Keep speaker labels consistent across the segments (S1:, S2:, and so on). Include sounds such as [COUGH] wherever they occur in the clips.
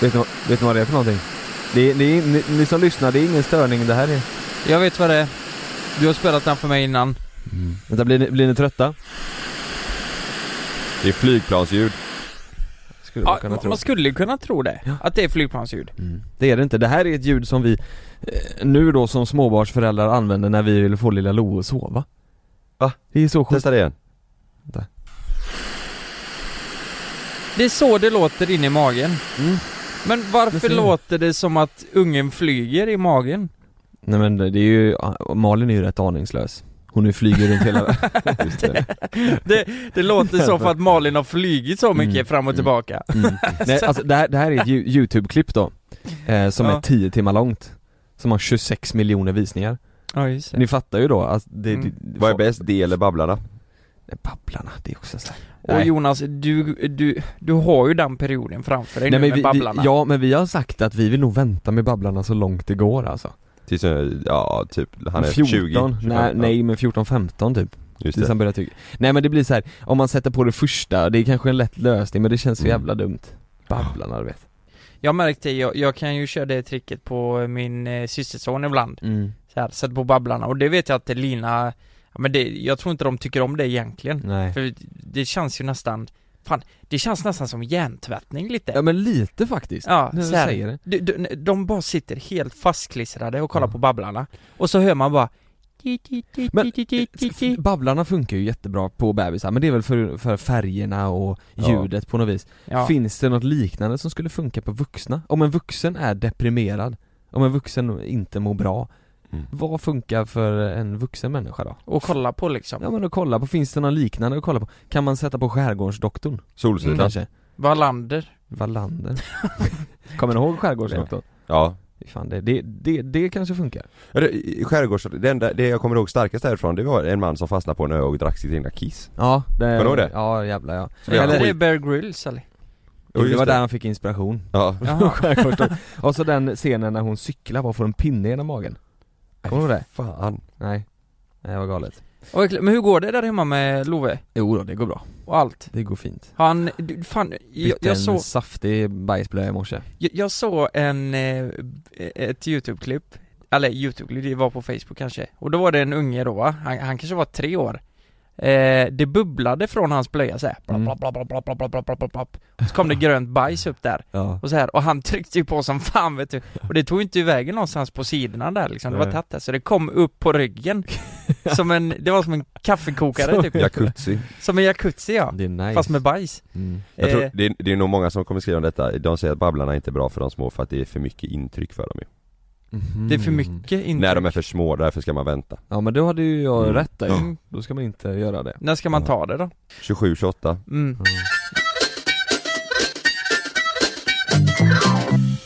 S1: Vet ni, vad- vet ni vad det är för någonting? Det, är- det är, ni, ni som lyssnar, det är ingen störning det här är.
S2: Jag vet vad det är. Du har spelat den för mig innan.
S1: Vänta, blir ni, blir ni trötta?
S3: Det är flygplansljud.
S1: Skulle man
S2: Ja,
S1: kunna tro.
S2: man skulle kunna tro det.
S1: Ja.
S2: Att det är flygplansljud.
S1: Mm. Det är det inte. Det här är ett ljud som vi eh, nu då som småbarnsföräldrar använder när vi vill få lilla Lo att sova.
S3: Va?
S1: Det är så sjukt.
S3: Testa det igen.
S2: Det är så det låter in i magen.
S1: Mm.
S2: Men
S1: Det
S2: varför
S1: ser jag.
S2: låter det som att ungen flyger i magen?
S1: Nej men det är ju, Malin är ju rätt aningslös. Hon nu flyger runt
S3: [LAUGHS]
S1: hela...
S3: Just det.
S2: [LAUGHS] Det, det låter så för att Malin har flygit så mycket
S1: Mm,
S2: fram och
S1: mm.
S2: tillbaka.
S1: Mm. Nej, alltså, det, här, det här är ett Yo- YouTube-klipp då, eh, som
S2: Ja.
S1: är 10 timmar långt. Som har 26 miljoner visningar.
S2: Ja, just det.
S1: Ni fattar ju då att det,
S2: Mm.
S1: det,
S3: Vad är bäst, det eller Babblarna?
S1: Nej, Babblarna, det är också så här.
S2: Och
S1: Nej.
S2: Jonas, du, du, du har ju den perioden framför dig
S1: Nej,
S2: nu
S1: men
S2: med
S1: vi,
S2: Babblarna.
S1: vi, ja men vi har sagt att vi vill nog vänta med Babblarna så långt det går alltså.
S3: Tills, eh, ja typ, han är
S1: 14,
S3: 20. 25,
S1: nej,
S3: ja.
S1: nej men 14-15 typ. Tills
S3: Just det.
S1: han börjar tycka. Nej men det blir så här. om man sätter på det första, det är kanske en lätt lösning men det känns så
S3: Mm.
S1: jävla dumt. Babblarna du vet.
S2: Jag märkte, jag, jag kan ju köra det tricket på min eh, systerson ibland.
S3: Mm.
S2: Så här, sätt på Babblarna. Och det vet jag att Lina, ja, men det, jag tror inte de tycker om det egentligen.
S1: Nej.
S2: För det känns ju nästan, fan, det känns nästan som hjärntvättning lite.
S1: Ja men lite faktiskt.
S2: Ja,
S1: när du
S2: så här.
S1: säger det.
S2: Du, du, de bara sitter helt fastklistrade och kollar
S1: Ja.
S2: på Babblarna. Och så hör man bara
S1: Mm. Men- eh, Babblarna funkar ju jättebra på bebisar men det är väl för, för färgerna och
S3: Ja.
S1: ljudet på något vis.
S2: ja.
S1: Finns det något liknande som skulle funka på vuxna? Om en vuxen är deprimerad, om en vuxen inte mår bra,
S3: Mm.
S1: vad funkar för en vuxen människa då?
S2: och kolla på liksom.
S1: Ja men då kolla på, finns det något liknande att kolla på? Kan man sätta på Skärgårdsdoktorn?
S3: Solsidan.
S2: Mm.
S1: Kanske?
S2: Wallander.
S1: Wallander? [LAUGHS] Kommer ni ihåg Skärgårdsdoktorn?
S3: Ja.
S1: Fy Fan, det, det, det, det kanske funkar.
S3: Eller, i- i Skärgårds, det enda, det jag kommer ihåg starkast därifrån det var en man som fastnade på en ö och drack sitt egna kiss.
S1: Ja, det,
S3: Kommer du ihåg det?
S1: Ja jävlar ja.
S3: Så
S2: Eller
S3: jag-
S2: är det Bear
S1: [LAUGHS]
S2: Grylls eller?
S3: Jo,
S1: det
S3: just
S1: var där han fick inspiration.
S3: Ja.
S1: [LAUGHS]
S2: Jaha.
S1: Skärgårdsdoktorn. Och så den scenen när hon cyklar bara får en pinne genom magen. Kommer du ihåg det?
S3: Fan.
S1: Nej. Nej det var galet.
S2: Och verkligen, Men hur går det där hemma med Love
S1: Jo då, det går bra.
S2: och allt?
S1: Det går fint.
S2: Han, du, fan, jag,
S1: Bytte
S2: jag,
S1: en
S2: såg,
S1: saftig bajsblöja i morse.
S2: jag, jag såg en, eh, ett YouTube-klipp, eller YouTube-klipp, det var på Facebook kanske, och då var det en unge då va, han, han kanske var tre år eh, Det bubblade från hans blöja såhär,
S1: Mm.
S2: så kom det grönt bajs upp där
S1: Ja.
S2: och så här, och han [LAUGHS] tryckte ju på som fan vet du Och det tog inte iväg någonstans på sidorna där liksom, det var
S1: Nej.
S2: tätt där, så det kom upp
S1: [LAUGHS]
S2: på ryggen Som en, det var som en kaffekokare typ,
S3: Jacuzzi.
S2: som en jacuzzi ja,
S1: Det är nice.
S2: fast med bajs
S1: mm.
S3: Jag
S2: Eh,
S3: tror, det, är, det är nog många som kommer skriva om detta, de säger att Babblarna är inte bra för de små för att det är för mycket intryck för dem ju.
S2: Mm-hmm. Det är för
S1: Mm.
S2: mycket intryck
S3: När de är för små, därför ska man vänta.
S1: Ja men då hade ju jag
S3: Mm.
S1: rätt där ju.
S2: Mm.
S1: Då ska man inte göra det.
S2: När ska man ta det då?
S3: 27, 28.
S2: Mm.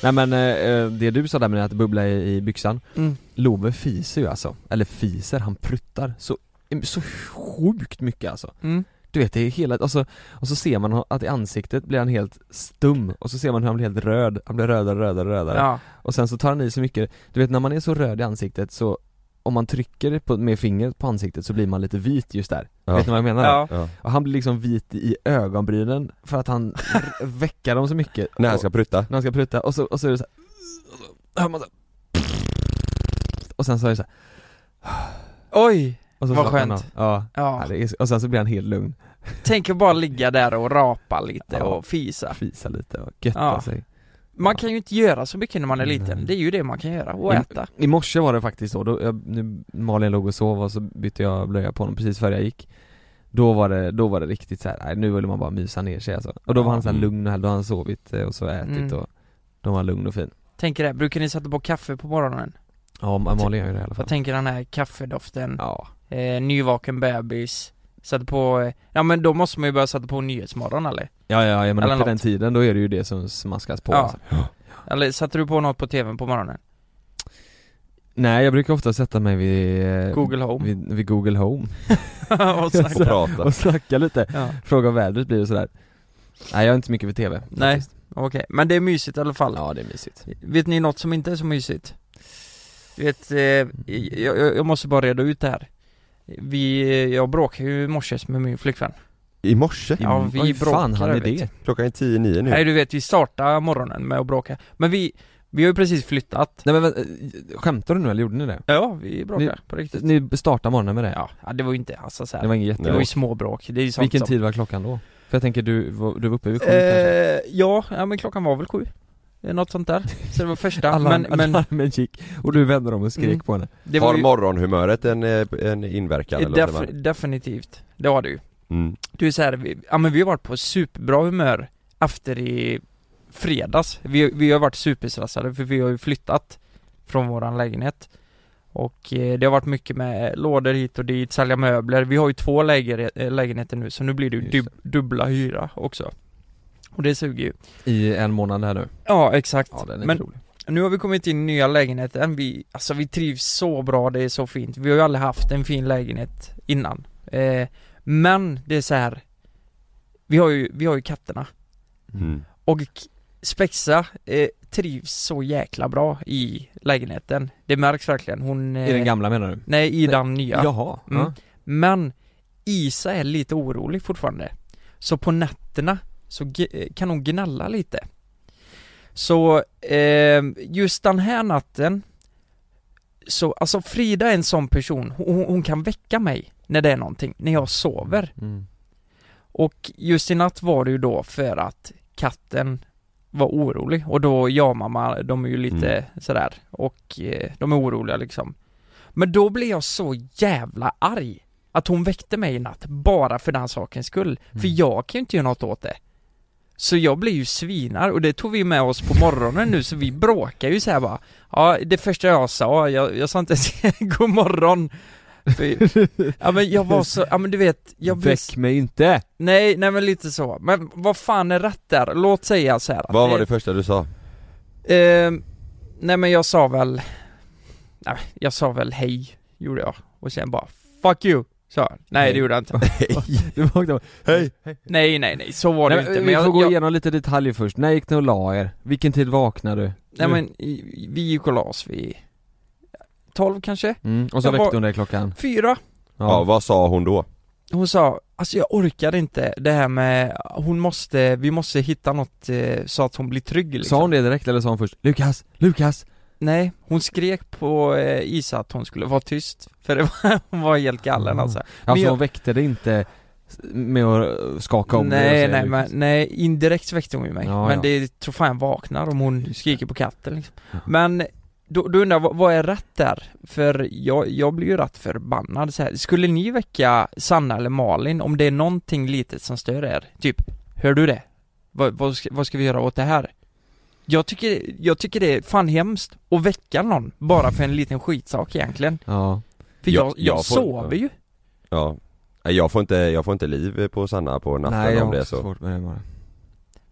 S1: Nej men eh, eh, det du sa där med att bubbla i, i byxan
S2: Mm.
S1: Love fiser ju alltså, eller fiser, han pruttar så, så sjukt mycket alltså
S2: Mm.
S1: Du vet det är hela, alltså, och så ser man att i ansiktet blir han helt stum och så ser man hur han blir helt röd, han blir rödare, rödare, rödare
S2: Ja.
S1: och sen så tar han i så mycket, du vet när man är så röd i ansiktet så om man trycker på, med fingret på ansiktet så blir man lite vit just där,
S3: Ja.
S1: vet ni vad jag menar?
S2: Ja.
S3: Ja.
S1: Och han blir liksom vit i ögonbrynen för att
S3: [LAUGHS]
S1: han r- väckar dem så mycket
S3: När han
S1: Och-
S3: ska prutta.
S1: när han ska prutta och så, och så är det så här, och så hör man så här, och sen så är det så här,
S2: Oj!
S1: och så
S2: Vad
S1: slappnar han
S2: skönt.
S1: av. Ja, ja.
S2: Ja,
S1: det är, så- och sen så blir han helt lugn,
S2: tänk att bara ligga där och rapa lite
S1: Ja.
S2: och fisa
S1: fisa lite och götta
S2: Ja.
S1: sig
S2: Man kan ju inte göra så mycket när man är
S1: Nej. Mm.
S2: liten, det är ju det man kan göra, och
S1: Men-
S2: äta
S1: I morse var det faktiskt så, då, jag, nu, Malin låg och sov och så bytte jag blöja på honom precis före jag gick Då var det, då var det riktigt så här, nej nu ville man bara mysa ner sig alltså. Och då var han så här
S3: Mm.
S1: lugn och här, då har han sovit eh, och så ätit
S2: Mm.
S1: och då var han lugn och fin
S2: Tänk er det, brukar ni sätta på kaffe på morgonen?
S1: Ja, Malin gör ju det i alla fall
S2: Vad tänker den här kaffedoften,
S1: Ja,
S2: eh, nyvaken bebis Sätta på, eh, ja men då måste man ju börja sätta på Nyhetsmorgon eller?
S1: ja, ja, ja men
S2: Eller
S1: upp till
S2: något.
S1: den tiden då är det ju det som smaskas på
S2: Ja.
S1: alltså.
S2: Eller sätter du på något på tvn på morgonen?
S1: Nej jag brukar ofta sätta mig vid eh,
S2: Google Home?
S1: Vid, vid Google Home
S2: [LAUGHS] och
S1: [LAUGHS] Jag
S3: Och
S2: så,
S1: sa-
S3: prata.
S2: [LAUGHS]
S1: och snacka lite,
S2: ja,
S1: fråga om vädret blir det sådär Nej jag är inte mycket för TV
S2: Nej.
S1: faktiskt.
S2: okej, men det är mysigt i alla fall
S1: Ja det är mysigt
S2: Vet ni något som inte är så mysigt? Du vet, eh, jag, jag, jag måste bara reda ut det här Vi, eh, jag bråkade ju i morse med min flickvän
S3: I morse?
S2: Ja, vi
S1: Oj, fan
S2: bråkar,
S1: hade
S2: vet
S1: det?
S3: Klockan är 10-9 nu.
S2: Nej du vet, vi startar morgonen med att bråka Men vi, vi har ju precis flyttat
S1: Nej men vänta, skämtar du nu eller gjorde ni det?
S2: Ja, vi bråkar
S1: Ni-
S2: på riktigt
S1: Ni startade morgonen med det?
S2: ja, ja, det var ju inte alltså så här.
S1: Det var inget
S2: Det var ju
S1: jättebra.
S2: småbråk, det är ju sånt
S1: Vilken
S2: som...
S1: tid var klockan då? För jag tänker du, var- du var uppe vid sju kanske?
S2: Eh, ja, ja, men klockan var väl sju Eh, Något sånt där, så det var första,
S1: Alla,
S2: men, men
S1: alarmen gick och du vände dem och skrek
S2: Mm.
S1: på henne
S2: det
S3: Har
S2: var ju
S3: morgonhumöret en, eh, en inverkan eller vad
S2: def-
S3: säger
S2: definitivt, det har du ju
S3: man? mm.
S2: Du är så här, vi, ja men vi har varit på superbra humör efter i fredags. Vi, vi har varit superstressade för vi har ju flyttat från våran lägenhet. Och eh, det har varit mycket med lådor hit och dit, sälja möbler. Vi har ju två läger, eh, lägenheter nu så nu blir det ju
S1: Just
S2: dub, dubbla hyra också. Och det suger ju.
S1: I en månad här nu
S2: Ja exakt.
S1: Ja den är
S2: Men
S1: Men... rolig
S2: nu har vi kommit in i nya lägenheten. Vi, alltså vi trivs så bra, det är så fint. Vi har ju aldrig haft en fin lägenhet innan. Eh, men det är så här. Vi har ju, vi har ju katterna.
S3: Mm.
S2: Och k- Spexa eh, trivs så jäkla bra i lägenheten Det märks verkligen, hon... Eh,
S1: I den gamla menar du?
S2: Nej, i den nya
S1: Jaha,
S2: Mm.
S1: ja.
S2: Men Isa är lite orolig fortfarande Så på nätterna så g- eh, kan hon gnälla lite Så eh, just den här natten Så alltså Frida är en sån person, hon, hon kan väcka mig när det är någonting, när jag sover
S1: Mm.
S2: och just i natt var det ju då för att katten var orolig och då jag och mamma, de är ju lite
S1: Mm.
S2: sådär och eh, de är oroliga liksom Men då blev jag så jävla arg att hon väckte mig i natt bara för den sakens skull För
S1: Mm.
S2: jag kan ju inte göra något åt det Så jag blev ju svinar och det tog vi med oss på morgonen nu så vi bråkar ju såhär bara Ja det första jag sa, jag, jag sa inte ens [LAUGHS] god morgon
S1: [LAUGHS]
S2: För- Ja men jag var så, ja men du vet, jag
S1: Väck mig inte!
S2: Nej, nej men lite så. Men vad fan är rätt där? Låt säga så här. att
S3: Vad var det första du sa?
S2: Ehm, nej men jag sa väl... Nej, jag sa väl hej, gjorde jag. Och sen bara 'fuck you' sa jag. Nej det
S1: Nej.
S2: gjorde jag inte.
S1: [LAUGHS] Du vaknade bara,
S3: Hej!
S2: Nej nej nej, så var det
S1: Nej,
S2: ju inte.
S1: vi får
S2: Men jag,
S1: gå
S2: jag,
S1: igenom lite detaljer först, när gick ni och la er? Vilken tid vaknade du?
S2: nej men i- vi gick och la oss vid 12 kanske?
S1: Mm. Och så
S2: Jag
S1: väckte
S2: var-
S1: hon dig klockan?
S2: Fyra.
S3: Ja, vad sa hon då?
S2: Hon sa, alltså jag orkar inte det här med, hon måste, vi måste hitta något eh, så att hon blir trygg liksom.
S1: Sa hon det direkt eller sa hon först 'Lukas, Lukas'
S2: Nej, hon skrek på eh, Isa att hon skulle vara tyst För det var, [LAUGHS] hon var helt gallen
S1: Ah.
S2: alltså
S1: Alltså
S2: jag-
S1: hon väckte dig inte s- med att eh, skaka om alltså, liksom? dig och säga
S2: Nej nej men,
S1: Lukas.
S2: nej indirekt väckte hon ju mig
S1: Ja,
S2: Men
S1: ja.
S2: det tror fan jag vaknar om hon skriker på katten liksom.
S1: Ja.
S2: Men då, då undrar jag, vad, vad är rätt där? För jag, jag blir ju rätt förbannad så här. Skulle ni väcka Sanna eller Malin om det är någonting litet som stör er? Typ, hör du det? Vad, vad, ska, vad ska vi göra åt det här? Jag tycker, jag tycker det är fan hemskt att väcka någon bara för en liten skitsak egentligen
S1: Ja,
S2: För
S3: Ja,
S2: jag, jag,
S3: jag får-
S2: sover ju
S3: Ja Nej, jag får, inte, jag får inte liv på Sanna på natten
S1: nej jag
S3: om
S1: har
S3: det är
S1: också
S3: så
S1: svårt med det bara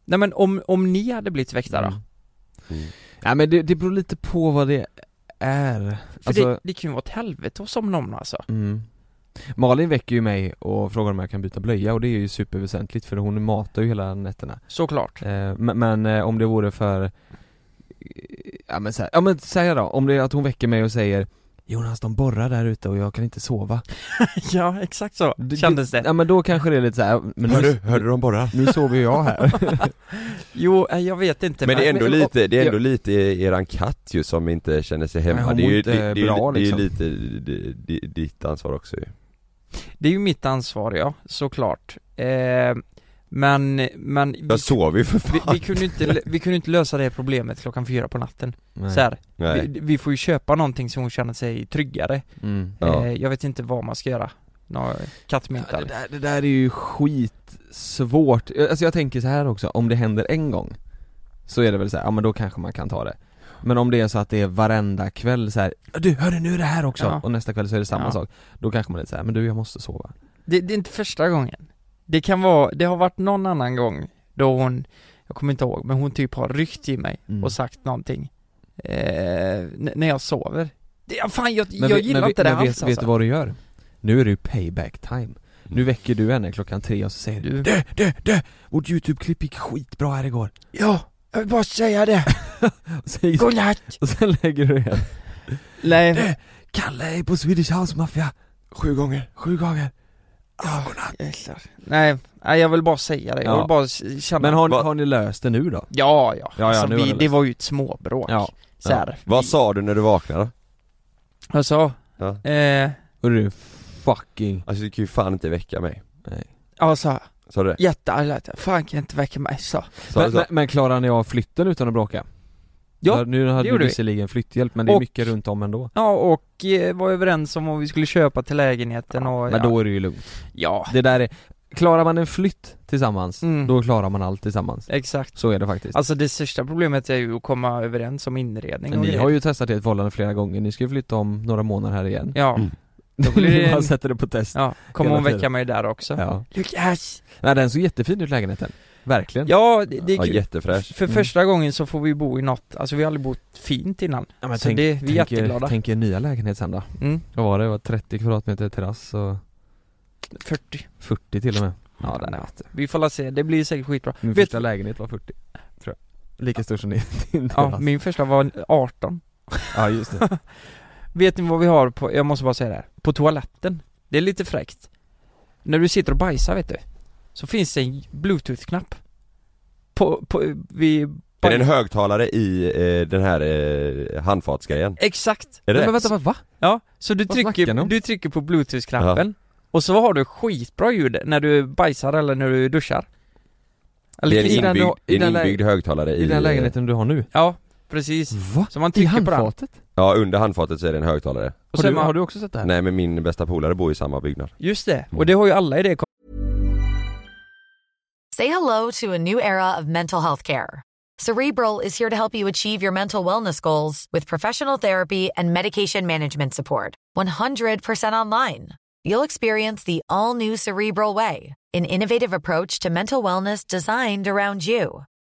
S2: Nej men om, om ni hade blivit väckta då?
S1: Mm.
S3: Mm.
S1: Nej men det, det beror lite på vad det är
S2: För det,
S1: Alltså,
S2: det kan ju vara ett helvete att somna om alltså
S1: mm. Malin väcker ju mig och frågar om jag kan byta blöja och det är ju superväsentligt för hon matar ju hela nätterna [LAUGHS]
S2: Såklart
S1: eh, Men, men eh, om det vore för Ja men, så här, ja men säg då, om det är att hon väcker mig och säger Jonas de borrar där ute och jag kan inte sova
S2: Ja, exakt så
S1: Det-
S2: kändes det
S1: Ja men då kanske det är lite så här, men
S3: Hör du?
S1: nu,
S3: Hörde du de borrar?
S1: nu sover ju jag här [LAUGHS]
S2: Jo, eh, jag vet inte
S3: Men det är ändå
S1: men-
S3: lite, det är ändå lite eran katt ju som inte känner sig
S1: Nej,
S3: hemma
S1: hon
S3: Det är
S1: mår
S3: ju
S1: inte
S3: det, det, är ju-
S1: bra,
S3: det är ju
S1: liksom.
S3: lite det, det, ditt ansvar också ju
S2: Det är ju mitt ansvar ja, såklart eh, Men, men vi,
S3: Jag sover ju för fan
S2: vi, vi, kunde inte, lö- vi kunde inte lösa det här problemet klockan fyra på natten
S1: Nej.
S2: så här,
S3: Nej.
S2: vi, vi får ju köpa någonting så hon känner sig tryggare
S1: Mm.
S3: Ja.
S2: eh, Jag vet inte vad man ska göra Nå, kattmynta
S1: Ja, det,
S2: eller-
S1: där, det där är ju skitsvårt, alltså jag tänker så här också, om det händer en gång Så är det väl så här, ja men då kanske man kan ta det Men om det är så att det är varenda kväll så här, du hörru nu är det här också!
S2: Ja.
S1: Och nästa kväll så är det samma
S2: Ja.
S1: sak Då kanske man är lite så här, men du jag måste sova
S2: Det, det är inte första gången. Det kan vara, det har varit någon annan gång då hon, jag kommer inte ihåg, men hon typ har ryckt i mig
S1: Mm.
S2: och sagt någonting. Eh, n- när jag sover. Det, ja, fan jag,
S1: men,
S2: jag
S1: vi-
S2: gillar
S1: men, vi-
S2: inte det
S1: men
S2: alls
S1: vet, vet du
S2: alltså. Mm.
S1: vad du gör? Nu är det ju payback time Nu väcker du henne klockan tre och så säger du
S2: Du-
S1: Dö, dö, dö! Vårt youtube-klipp gick skitbra här igår
S2: Ja, jag vill bara
S1: [LAUGHS]
S2: säga det.
S1: och sen,
S2: Godnatt! Eh,
S1: och sen lägger du igen
S2: Nej,
S1: Kalle är på Swedish House Mafia Sju gånger Sju gånger
S2: Ah, jäklar. Nej, nej, jag vill bara säga det, jag
S1: Ja.
S2: vill bara s- känna
S1: Men har, ni-
S3: Vad-
S1: har ni löst det nu då?
S2: Ja, ja,
S1: ja,
S2: alltså,
S1: nu var
S2: vi,
S1: det
S2: det
S1: löst.
S2: var ju ett småbråk
S1: Ja.
S2: så här.
S3: Vad sa du när du vaknade?
S2: Jag sa,
S3: Ja.
S2: eh,
S1: Och du fucking...
S3: Alltså du kan ju fan inte väcka mig.
S2: jag sa
S3: Sa du det?
S2: jättearg att jag fan kan jag inte väcka mig så
S3: Sa du
S1: Men,
S3: så?
S1: men, men klarade ni av flytten utan att bråka?
S2: Ja,
S1: Nu hade vi
S2: gjorde vi.
S1: visserligen flytthjälp men det är
S2: Och-
S1: mycket runt om ändå
S2: Ja och eh, var överens om vad vi skulle köpa till lägenheten och
S1: Men
S2: ja.
S1: då är det ju lugnt
S2: ja,
S1: Det där är, klarar man en flytt tillsammans,
S2: Mm.
S1: då klarar man allt tillsammans
S2: exakt
S1: Så är det faktiskt
S2: Alltså det största problemet är ju att komma överens om inredning och
S1: Ni
S2: grejer.
S1: har ju testat ert förhållande flera gånger, ni ska ju flytta om några månader här igen
S2: Ja,
S3: Mm.
S2: då blir det
S1: [LAUGHS] Ni bara
S2: en...
S1: sätter det på test
S2: Ja, kommer
S1: hela
S2: hon väcka
S1: tiden.
S2: mig där också?
S1: Ja.
S2: Lukas!
S1: Nej den såg jättefin ut lägenheten, verkligen
S2: Ja, det, det är
S3: ja,
S2: kul.
S3: jättefräsch.
S2: För
S1: Mm.
S2: första gången så får vi bo i något, alltså vi har aldrig bott fint innan
S1: Ja, men
S2: Så det- vi är
S1: tänk, er-
S2: jätteglada.
S1: Tänk er nya lägenhet sen då
S2: mm,
S1: Vad var det? Det var 30 kvadratmeter terrass och
S2: 40
S1: 40 till och med Ja
S2: Ja,
S1: den är
S2: ja.
S1: vacker.
S2: Vi får la se, det blir säkert skitbra
S1: Min
S2: Vet-
S1: första lägenhet var 40 tror jag Lika stor som din, [LAUGHS] din terrass
S2: Ja, min första var 18
S1: ja just [LAUGHS] det
S2: Vet ni vad vi har på, jag måste bara säga det här, på toaletten? Det är lite fräckt När du sitter och bajsar vet du Så finns det en bluetooth-knapp På, på, vid
S3: Är det en högtalare i eh, den här eh, handfatsgrejen?
S2: Exakt!
S3: Är det
S1: Men
S3: det?
S1: vänta, vad? va?
S2: Ja, så du
S1: Vad snackar ni
S2: trycker,
S1: om?
S2: du trycker på bluetooth-knappen Och så har du skitbra ljud när du bajsar eller när du duschar Eller
S3: Det är en
S1: i den-
S3: inbyggd,
S1: i
S3: en
S1: den lä-
S3: inbyggd högtalare i...
S1: I den
S3: eh,
S1: lägenheten du har nu?
S2: Ja, precis
S1: Va?
S2: Så man
S1: I
S2: trycker på den
S1: handfatet?
S3: Ja, under handfatet så är det en högtalare.
S2: och
S1: Har
S2: sen
S1: du,
S2: man,
S1: har du också sett det här?
S3: Nej men min bästa polare bor i samma byggnad.
S2: Just det, och det har ju alla i det
S4: Say hello to a new era of mental health care. Cerebral is here to help you achieve your mental wellness goals with professional therapy and medication management support. 100% online. You'll experience the all new Cerebral Way, an innovative approach to mental wellness designed around you.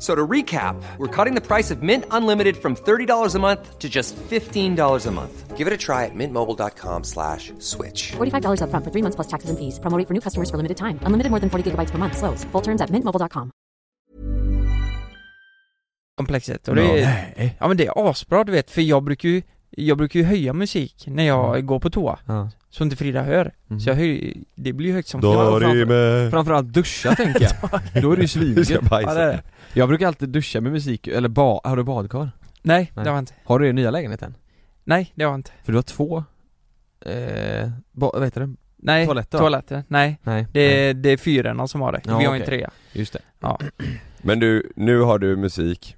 S5: So to recap, we're cutting the price of Mint Unlimited from $30 a month to just $15 a month. Give it a try at mintmobile.com slash switch.
S6: $45 upfront for three months plus taxes and fees. Promo rate for new customers for limited time. Unlimited more than 40 gigabytes per month. Slows. Full terms at mintmobile.com.
S2: komplexet och det är,
S1: Nej.
S2: Ja men det är asbra du vet, för jag brukar ju Jag brukar ju höja musik när jag
S1: Mm.
S2: går på toa
S1: Ja.
S2: Så inte Frida hör
S1: Mhm.
S2: Så jag höj, det blir ju högt som fan.
S3: Dorime!
S1: Framförallt duscha tänker [LAUGHS] jag, då är det ju
S3: Du ska
S1: svinget
S2: ja, det är
S3: bajsa.
S2: det.
S1: Jag brukar alltid duscha med musik, eller ba, har du badkar?
S2: Nej,
S1: Nej.
S2: det har jag inte
S1: Har du det i nya lägenheten?
S2: Nej, det har jag inte
S1: För du har två, eh, ba, vad heter det?
S2: Nej,
S1: Toaletter, va?
S2: toaletter. Nej,
S1: Nej,
S2: det
S1: nej,
S2: är, det är fyrorna som har det,
S1: Ja,
S2: vi har
S1: okej.
S2: ju en trea
S1: just det
S3: Men du, nu har du musik.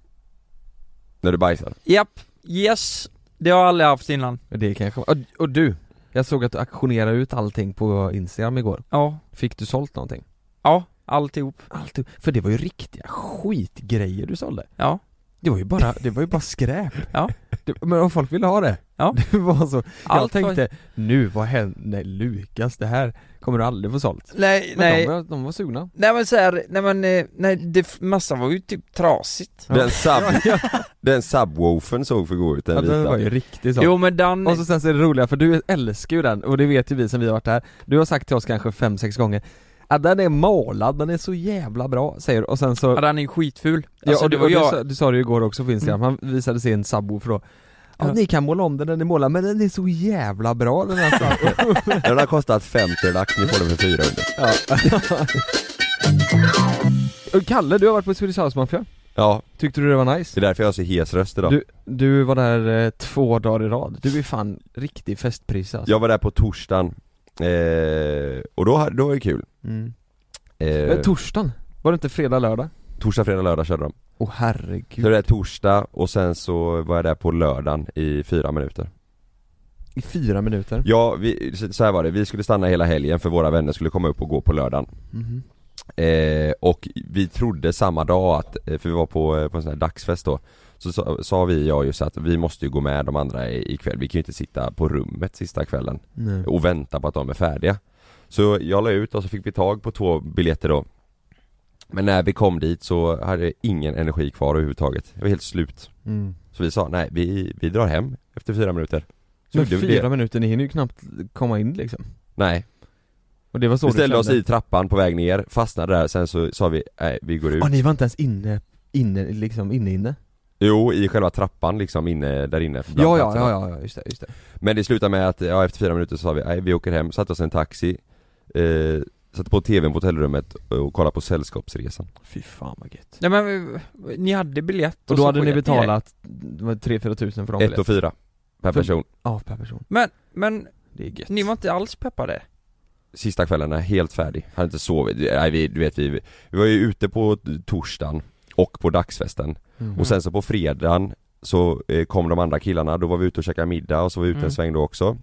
S3: När du bajsar.
S2: Japp, yes Det har jag aldrig haft innan
S1: Men Det kanske, och, och du, jag såg att du auktionerade ut allting på Instagram igår
S2: Ja,
S1: Fick du sålt någonting?
S2: ja, alltihop
S1: Allt, för det var ju riktiga skitgrejer du sålde
S2: Ja,
S1: Det var ju bara, det var ju bara skräp
S2: [LAUGHS] Ja.
S1: det, Men om folk ville ha det
S2: Ja.
S1: [LAUGHS] Det var så, jag
S2: allt var-
S1: tänkte, nu vad händer, Lukas det här kommer du aldrig få sålt
S2: Nej,
S1: Men
S2: nej
S1: De, var- de var sugna
S2: Nej men såhär, nej men, eh, nej det, massa var ju typ trasigt
S1: Ja.
S3: Den, sub, den subwoofern såg för god ut, den
S1: Ja, den var
S3: vita.
S1: ju riktigt så
S2: Jo men den,
S1: Och så sen så är det roliga, för du älskar ju den, och det vet ju vi som vi har varit här Du har sagt till oss kanske fem sex gånger att den är målad, den är så jävla bra, säger du, och sen så
S2: ja, den är ju skitful
S1: Ja,
S2: Alltså
S1: och
S2: det
S1: du,
S2: var
S1: och du,
S2: jag, Mm.
S1: sa, du sa det ju igår också på Instagram, han visade sin subwoofer då Ja,
S2: Ja.
S1: ni kan måla om den, den är målad, men den är så jävla bra den här
S2: [LAUGHS]
S1: subwoofern.
S3: Den har kostat 50 lax, ni får den för 400.
S1: Och Kalle, du har varit på Swedish House Mafia,
S3: Ja,
S1: tyckte du det var nice?
S3: det är därför jag har så hes röst idag.
S1: Du, du var där eh, två dagar i rad, du är fan riktig festpris alltså.
S3: Jag var där på torsdagen. Eh, och då, hade- då var det kul.
S1: Mm.
S3: Eh,
S2: Eh.
S1: Men torsdagen, var det inte fredag, lördag?
S3: Eh, Torsdag, fredag, lördag körde de.
S1: Åh
S3: Så det
S1: herregud.
S3: är torsdag och sen så var jag där på lördagen i fyra minuter
S1: I fyra minuter.
S3: Ja, vi, så- så här var det, vi skulle stanna hela helgen för våra vänner skulle komma upp och gå på lördagen
S1: Mhm.
S3: eh, Och vi trodde samma dag att, eh, för vi var på, eh, på en sån här dagsfest då Så sa, sa vi, jag just att vi måste ju gå med de andra i- ikväll, vi kan ju inte sitta på rummet sista kvällen
S1: Nej.
S3: och vänta på att de är färdiga Så jag la ut och så fick vi tag på två biljetter då Men när vi kom dit så hade jag ingen energi kvar överhuvudtaget, jag var helt slut
S1: Mm.
S3: Så vi sa, nej vi, vi drar hem efter fyra minuter Så
S1: Men
S3: gjorde vi
S1: fyra
S3: det.
S1: minuter, ni hinner ju knappt komma in liksom.
S3: Nej,
S1: Och det var så
S3: vi
S1: du
S3: ställde oss
S1: kände.
S3: i trappan på väg ner, fastnade där, sen så sa vi, nej vi går ut
S1: Ja, ni var inte ens inne, inne, liksom inne inne?
S3: Jo, i själva trappan liksom inne, där inne bland
S1: Ja, ja,
S3: platserna.
S1: ja, ja, ja, just det, just det.
S3: Men det slutade med att, ja efter fyra minuter så sa vi, nej vi åker hem, satte oss i en taxi eh, Satte på tvn på hotellrummet och kollade på Sällskapsresan
S1: Fy fan vad gött.
S2: Nej men, eh, ni hade biljett
S1: Och då
S2: så
S1: hade ni
S2: sket i det.
S1: betalat 3-4 tusen för dem
S3: Ett och fyra per
S1: För-
S3: person
S1: Ja, per person.
S2: Men, men
S1: Det är gött.
S2: ni var inte alls peppade?
S3: Sista kvällen, är helt färdig, hade inte sovit, nej vi, du vet vi, vi var ju ute på torsdagen och på dagsfesten
S1: Mm.
S3: Och sen så på fredagen så eh, kom de andra killarna, då var vi ute och käkade middag och så var vi ute
S2: Mm.
S3: en sväng då också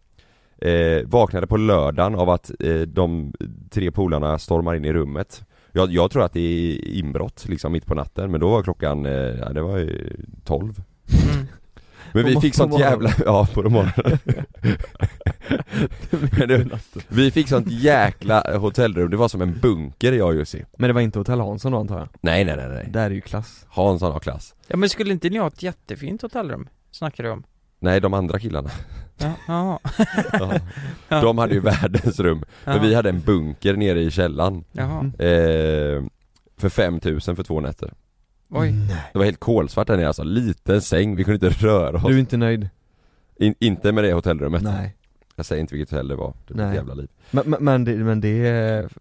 S3: eh, Vaknade på lördagen av att eh, de tre polarna stormar in i rummet jag, jag tror att det är inbrott liksom mitt på natten men då var klockan, eh, ja, det var ju 12
S2: Mm.
S3: Men
S1: På
S3: vi
S1: mor-
S3: fick
S1: på
S3: sånt
S1: morgonen.
S3: jävla, [LAUGHS] ja
S1: [LAUGHS]
S3: på morgonen [LAUGHS] Men det- Vi fick sånt jäkla hotellrum, det var som en bunker jag och Jussi
S1: Men det var inte Hotell Hansson då antar jag?
S3: Nej nej nej nej,
S1: Där är ju klass.
S3: Hansson har klass
S2: Ja men skulle inte ni ha ett jättefint hotellrum? Snackar du om?
S3: Nej de
S1: [LAUGHS]
S3: andra killarna,
S2: Ja, ja.
S3: [LAUGHS] ja. de hade ju världens rum Men vi hade en bunker nere i källaren
S1: Mm.
S2: Jaha,
S3: eh, För 5000 för två nätter
S2: oj.
S1: Nej.
S3: Det var helt kolsvart där nere alltså, liten säng, vi kunde inte röra oss
S1: Du är inte nöjd?
S3: In, Inte med det hotellrummet
S1: Nej.
S3: Jag säger inte vilket hotell det var, det var ett
S1: Nej.
S3: jävla liv
S1: Men, men, men, det, men det,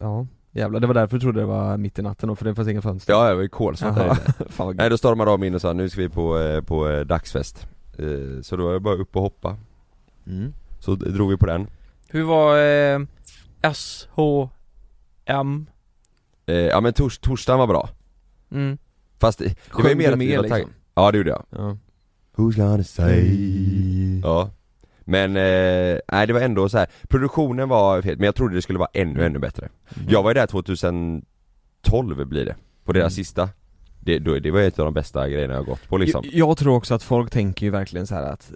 S1: ja. Jävlar, det var därför du trodde det var mitt i natten då, för det fanns inga fönster.
S3: Ja, det var ju kolsvart där
S1: Jaha.
S3: inne
S1: [LAUGHS] Fan vad gött.
S3: Nej då stormade de in och sa nu ska vi på, eh, på eh, dagsfest eh, Så då var det bara upp och hoppa
S1: Mm.
S3: Så d- drog vi på den
S2: Hur var eh, SHM?
S3: eh, Ja men tors, torsdagen var bra
S2: Mm.
S3: Fast det det var ju
S1: Sjöng
S3: mer
S1: du
S3: att vi
S1: med,
S3: var tag-
S1: liksom?
S3: Ja det gjorde jag
S1: Ja.
S3: Who's gonna Ja Men, eh, nej det var ändå så här. produktionen var fet men jag trodde det skulle vara ännu ännu bättre Jag var ju där 2012 blir det, på deras
S1: Mm.
S3: sista det, då, det var ju ett av de bästa grejerna jag gått på liksom
S1: Jag, jag tror också att folk tänker ju verkligen så här att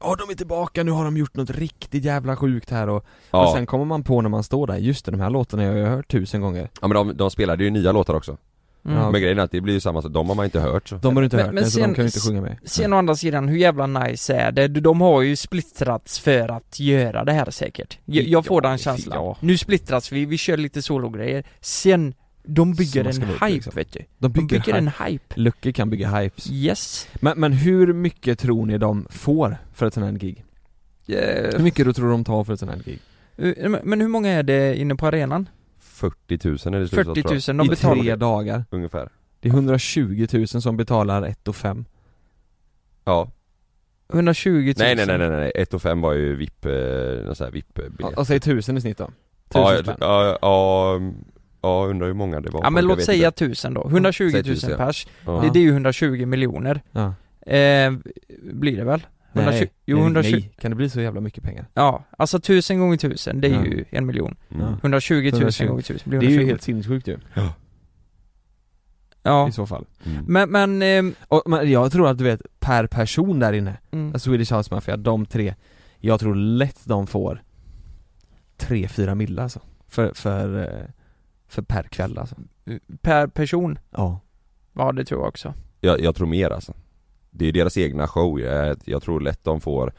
S1: Ja de är tillbaka, nu har de gjort något riktigt jävla sjukt här och, och
S3: Ja,
S1: sen kommer man på när man står där, just det, de här låtarna har jag hört tusen gånger
S3: ja men de, de spelade ju nya låtar också
S2: Mm.
S1: Ja.
S3: Men grejen är att det blir ju samma sak, de har man inte hört så
S1: De har du inte
S2: Men-
S1: hört,
S2: men
S1: nej, så de
S2: sen-
S1: kan ju inte sjunga med
S2: Sen å andra sidan, hur jävla nice är det? De har ju splittrats för att göra det här säkert Jag, jag får
S3: Ja,
S2: den
S3: fy-
S2: känslan
S3: ja.
S2: Nu splittras vi, vi kör lite sologrejer Sen, de bygger
S1: Som
S2: en
S1: ska vara upp,
S2: hype
S1: liksom.
S2: vet du
S1: De
S2: De
S1: bygger,
S2: bygger
S1: hype.
S2: en hype
S1: Lucke kan bygga hypes
S2: Yes
S1: men, men hur mycket tror ni de får för ett sånt här gig? Hur mycket du tror de tar för ett sånt här gig?
S2: Eh, men- Men hur många är det inne på arenan?
S3: 40 000 är det slutet,
S2: 40
S3: tror jag,
S2: 000, de
S1: I
S2: betalar
S1: tre dagar
S3: ungefär
S1: Det är 120 000 som betalar 1 5
S3: Ja,
S2: 120 000
S3: nej nej nej nej nej, 1 och 5 var ju VIP, eh, någon sån här VIP-biljett
S1: Och säg tusen i snitt då
S3: Ja,
S1: Tusen
S3: jag-
S1: spänn
S3: ja, ja, ja, undrar hur många det var
S2: Ja men
S3: Jag
S2: låt
S3: vet
S2: säga
S3: inte.
S2: 1000 då, 120 000
S3: Säg tusen, ja.
S2: pers
S3: Ja.
S2: det, det är ju 120 miljoner
S1: ja.
S2: eh, Blir det väl? 120
S1: Nej,
S2: jo,
S1: nej,
S2: 120
S1: nej, kan det bli så jävla mycket pengar?
S2: Ja, alltså 1000 gånger 1000 det är
S1: Ja.
S2: ju en miljon
S3: Mm.
S2: 120 000
S1: 120.
S2: gånger 1000 blir
S1: Det är ju
S2: 120
S1: helt sinnessjukt ju,
S2: Ja,
S1: i så fall
S3: Mm.
S2: men, men ehm,
S1: Och men jag tror att du vet, per person där inne, alltså
S2: mm,
S1: Swedish House Mafia, de tre Jag tror lätt de får 3-4 mille alltså för, för, eh, för per kväll alltså
S2: per person,
S1: Ja
S2: ja det tror jag också
S3: Jag, jag tror mer alltså Det är ju deras egna show, jag, jag tror lätt de får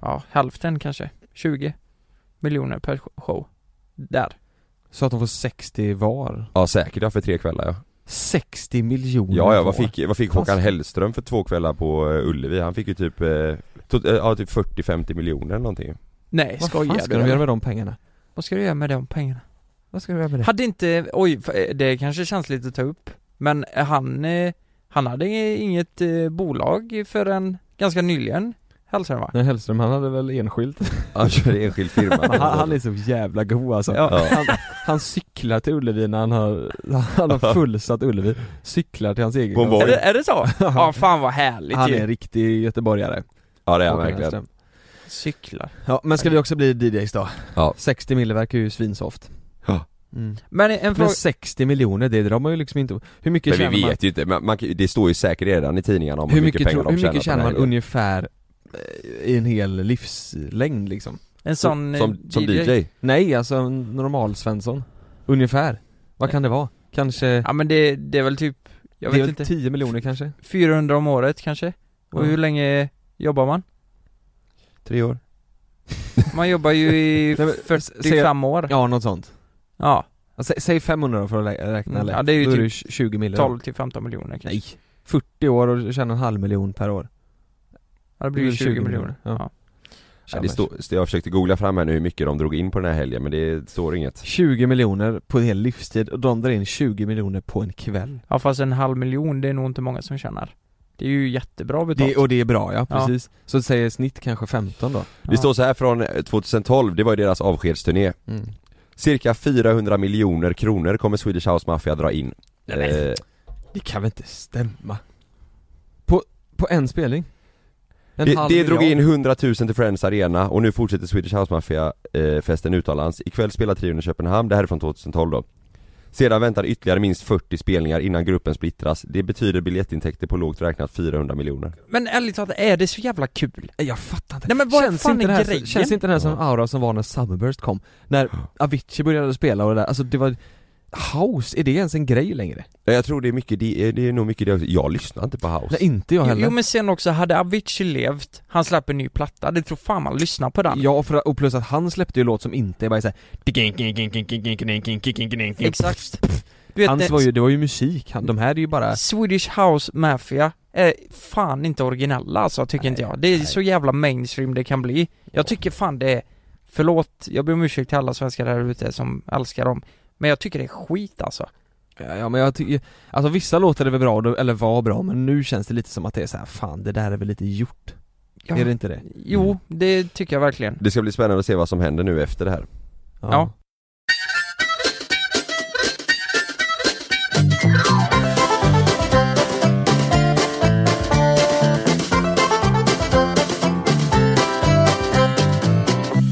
S2: Ja, hälften kanske, 20 miljoner per show Där
S1: Så att de får 60 var
S3: Ja säkert ja, för tre kvällar ja
S1: 60 miljoner
S3: Ja ja, vad
S1: var.
S3: fick, vad fick Håkan Hellström för två kvällar på eh, Ullevi? Han fick ju typ, eh, tot- eh, ja typ 40-50 miljoner eller någonting
S2: Nej,
S1: Vad
S2: skojar
S1: fan
S2: du?
S1: ska de
S2: eller?
S1: göra med de pengarna?
S2: Vad ska du göra med de pengarna?
S1: Vad ska de göra med det?
S2: Hade inte, oj, f- eh, det kanske känns lite att ta upp Men han, eh, han hade inget eh, bolag förrän ganska nyligen Hälsade va?
S1: Nej Hellström han hade väl enskilt?
S3: [LAUGHS] Han körde enskild firma
S1: Han, han är så jävla god alltså
S3: Ja.
S1: han, Han cyklar till Ullevi när han har, han har fullsatt Ullevi Cyklar till hans egen
S3: På en
S2: Är
S3: Oj.
S2: det, är
S1: [LAUGHS]
S2: det så? Ja fan vad härligt
S1: Han är
S2: ju.
S1: en riktig göteborgare
S3: Ja det är han
S1: Håkan
S3: verkligen
S1: Hellström.
S2: Cyklar.
S1: Ja, men ska vi också bli DJs då?
S3: Ja.
S1: 60 mille verkar ju svinsoft
S3: Ja.
S1: mm.
S2: Men eh, en
S1: Men
S2: fråga,
S1: 60 miljoner, det drar man ju liksom inte Hur mycket
S3: Men vi
S1: tjänar man?
S3: vet ju inte, man, man, kan- det står ju säkert redan i tidningarna om
S1: Hur mycket,
S3: pengar
S1: tror, hur
S3: de
S1: mycket
S3: tjänar
S1: tjänar
S3: på
S1: man
S3: det här.
S1: ungefär eh, i en hel livslängd liksom?
S2: en sån eh,
S3: Som, som DJ?
S1: Nej, alltså en normal Svensson Ungefär, vad kan det vara? Kanske,
S2: Ja men det, det är väl typ, jag
S1: det är
S2: vet
S1: väl
S2: inte,
S1: 10 miljoner kanske?
S2: 400 om året kanske? Och
S1: Ja.
S2: hur länge jobbar man?
S3: Tre år?
S2: Man jobbar ju i
S1: [LAUGHS] Nej, men, säg-
S2: 45 år.
S1: Ja, något sånt
S2: Ja,
S1: Sä- Säg 500 då för att lä- räkna
S2: Mm,
S1: lätt.
S2: ja, det är ju
S1: Då
S2: typ
S1: 20 miljoner
S2: 12 till 15 miljoner kanske.
S1: Nej, 40 år och tjänar en halv miljon per år
S2: Ja, det blir ju 20, miljoner.
S1: ja.
S2: Ja.
S3: Ja, det står, så jag försökte googla fram här nu hur mycket de drog in på den här helgen men det står inget
S1: 20 miljoner på en hel livstid och de drar in 20 miljoner på en kväll
S2: ja fast en halv miljon, det är nog inte många som tjänar. Det är ju jättebra betalt.
S1: det, Och det är bra ja,
S2: Ja.
S1: precis Så säger snitt kanske 15 då
S3: Det står så här från eh, 2012, det var ju deras avskedsturné
S1: mm.
S3: Cirka 400 miljoner kronor kommer Swedish House Mafia dra in eh,
S1: Det kan väl inte stämma? På, på en spelning? En
S3: Det,
S1: halv
S3: det drog in
S1: miljard.
S3: 100 000 till Friends Arena och nu fortsätter Swedish House Mafia-festen utomlands. Ikväll spelar trion i Köpenhamn, det här är från 2012 då. Sedan väntar ytterligare minst 40 spelningar innan gruppen splittras. Det betyder biljettintäkter på lågt räknat 400 miljoner.
S2: Men ärligt talat, är det så jävla kul?
S1: Nej, Jag fattar inte
S2: Nej, men vad fan
S1: inte
S2: är
S1: det här,
S2: grejen?
S1: Känns inte det här som en
S3: Ja.
S1: aura som var när Summerburst kom? När Avicii började spela och det där, alltså det var House, är det ens en grej längre?
S3: Ja, Jag tror det är mycket, det är, det är nog mycket det också. Jag lyssnar inte på house.
S1: Nej inte jag
S2: Jo,
S1: heller
S2: jo men sen också, hade Avicii levt, han släpper en ny platta, det tror fan man lyssnar på den.
S1: Ja, och för, och plus att han släppte ju låt som inte är bara såhär
S2: Exakt. Du vet,
S1: Hans
S2: det-
S1: var ju, det var ju musik, han, de här är ju bara
S2: Swedish House Mafia är fan inte originella alltså, tycker inte jag. Det är så jävla mainstream det kan bli. Jag tycker fan det är, förlåt, jag ber om ursäkt till alla svenskar där ute som älskar dem. Men jag tycker det är skit alltså.
S1: Ja ja, men jag tycker, alltså vissa låtar är väl bra, då- eller var bra, men nu känns det lite som att det är så här, fan det där är väl lite gjort,
S2: Ja,
S1: är det inte det?
S2: Jo, det tycker jag verkligen.
S3: Det ska bli spännande att se vad som händer nu efter det här.
S2: Ja.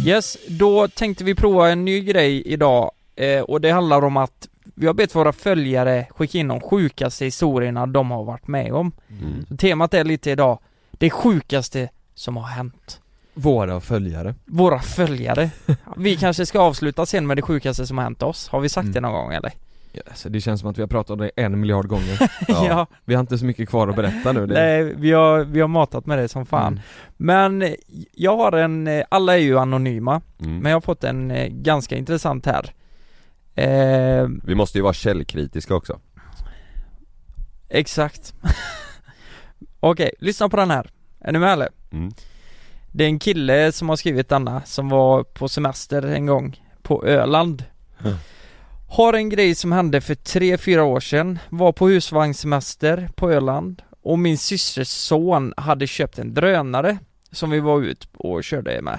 S2: Yes, då tänkte vi prova en ny grej idag eh, och det handlar om att vi har bett våra följare skicka in de sjukaste historierna de har varit med om.
S3: Mm.
S2: Så temat är lite idag, det sjukaste som har hänt.
S1: Våra följare
S2: Våra
S1: [LAUGHS]
S2: följare. Vi kanske ska avsluta sen med det sjukaste som har hänt oss. Har vi sagt
S1: Mm.
S2: det någon gång eller?
S1: ja, alltså, Det känns som att vi har pratat om det en miljard gånger,
S2: [LAUGHS]
S3: Ja.
S1: vi har inte så mycket kvar att berätta nu det...
S2: Nej, vi har, vi har matat med det som fan.
S1: Mm.
S2: Men eh, jag har en, eh, alla är ju anonyma,
S3: Mm.
S2: men jag har fått en eh, ganska intressant här. Eh,
S3: Vi måste ju vara källkritiska också.
S2: Exakt [LAUGHS] Okej, lyssna på den här. Är ni med eller?
S3: Mm.
S2: Det är en kille som har skrivit denna som var på semester en gång på Öland
S3: Mm.
S2: Har en grej som hände för 3-4 år sedan, var på husvagnssemester på Öland och min systers son hade köpt en drönare som vi var ut och körde med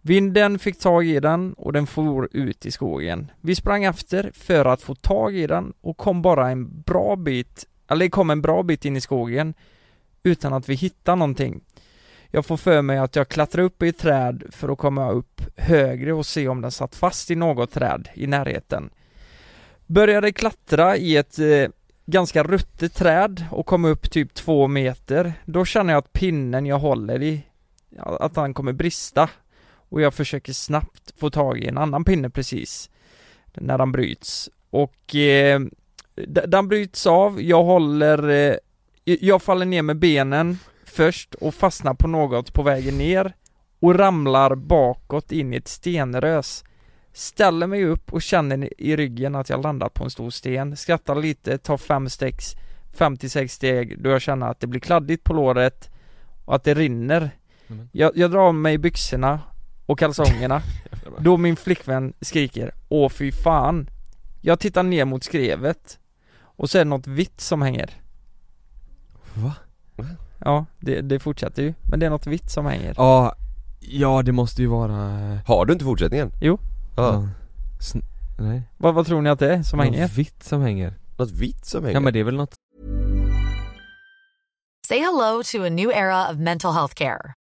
S2: Vinden fick tag i den och den for ut i skogen. Vi sprang efter för att få tag i den och kom bara en bra bit, eller kom en bra bit in i skogen utan att vi hittade någonting. Jag får för mig att jag klättrade upp i ett träd för att komma upp högre och se om den satt fast i något träd i närheten. Började klättra i ett eh, ganska ruttet träd och kom upp typ två meter. Då känner jag att pinnen jag håller i, att han kommer brista och jag försöker snabbt få tag i en annan pinne precis när den bryts och eh, d- den bryts av, jag håller, eh, jag faller ner med benen först och fastnar på något på vägen ner och ramlar bakåt in i ett stenrös Ställer mig upp och känner i ryggen att jag landat på en stor sten, skrattar lite, tar fem steg, fem till sex steg då jag känner att det blir kladdigt på låret och att det rinner
S1: Amen.
S2: jag, jag drar av mig byxorna och kalsongerna Då min flickvän skriker Åh fy fan Jag tittar ner mot skrevet Och så är det något vitt som hänger
S1: Va?
S2: Ja, det, det fortsätter ju Men det är något vitt som hänger
S1: Ja, ja det måste ju vara...
S3: Har du inte fortsättningen?
S2: Jo.
S3: Ja.
S1: Sn- Nej.
S2: Vad, vad tror ni att det är som hänger?
S1: Något vitt som hänger.
S3: Något vitt som hänger?
S1: Ja men det är väl något
S4: Say hello to a new era of mental health care.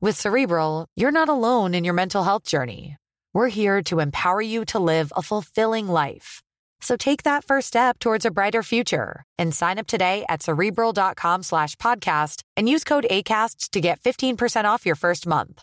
S4: With Cerebral, you're not alone in your mental health journey. We're here to empower you to live a fulfilling life. So take that first step towards a brighter future and sign up today at cerebral.com slash podcast and use code ACAST to get 15% off your first month.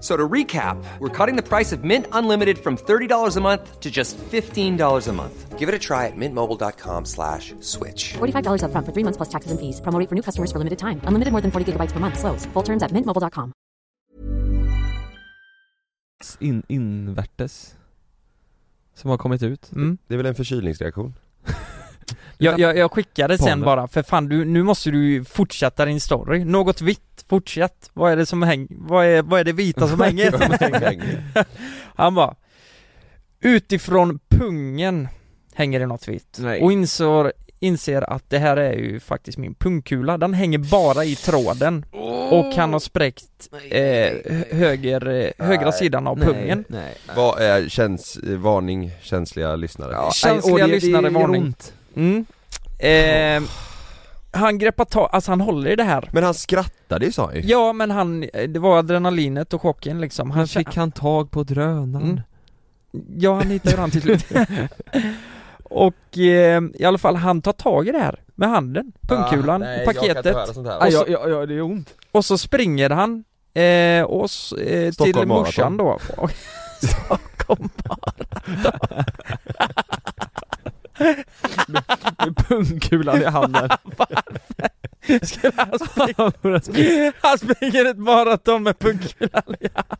S5: So to recap, we're cutting the price of Mint Unlimited from $30 a month to just $15 a month.
S7: Give it a try at mintmobile.com slash switch.
S6: $45 up front for three months plus taxes and fees. Promo rate for new customers for limited time. Unlimited more than 40 gigabytes per month. Slows. Full terms at mintmobile.com.
S1: in, invärtes som har kommit ut.
S2: Mm.
S3: Det är väl en förkylningsreaktion?
S2: Jag, jag, jag skickade sen
S1: Ponder.
S2: bara, för fan du, nu måste du ju fortsätta din story. Något vitt, fortsätt. Vad är det som hänger? Vad är, vad är det vita [LAUGHS] som
S3: [LAUGHS]
S2: hänger? Han bara Utifrån pungen hänger det något vitt
S1: Nej.
S2: och inser, inser att det här är ju faktiskt min pungkula, den hänger bara i tråden och han har spräckt eh, hö- höger, eh, högra sidan av pungen
S1: Nej.
S3: Vad är käns, eh, varning, känsliga lyssnare?
S2: Ja. Känsliga lyssnare, varning. mm. eh, Han greppar tag, alltså han håller i det här
S3: Men han skrattade ju sa han ju
S2: Ja men han, eh, det var adrenalinet och chocken liksom, han,
S1: Han
S2: fick
S1: fick han tag på drönaren.
S2: Mm. Ja, han hittar ju den
S1: [LAUGHS]
S2: till slut. och eh, i alla fall, han tar tag i det här med handen,
S1: Ah,
S2: pungkulan, paketet.
S1: Aj,
S2: Och så-
S1: ja, ja, ja, det är ont. [LAUGHS]
S2: Och så springer han eh, och, s- eh, till
S3: Stockholm
S2: morsan då. Och- Stockholm
S1: Med pungkulan i handen.
S2: skulle han springa. Han springer ett maraton med pungkulan i handen.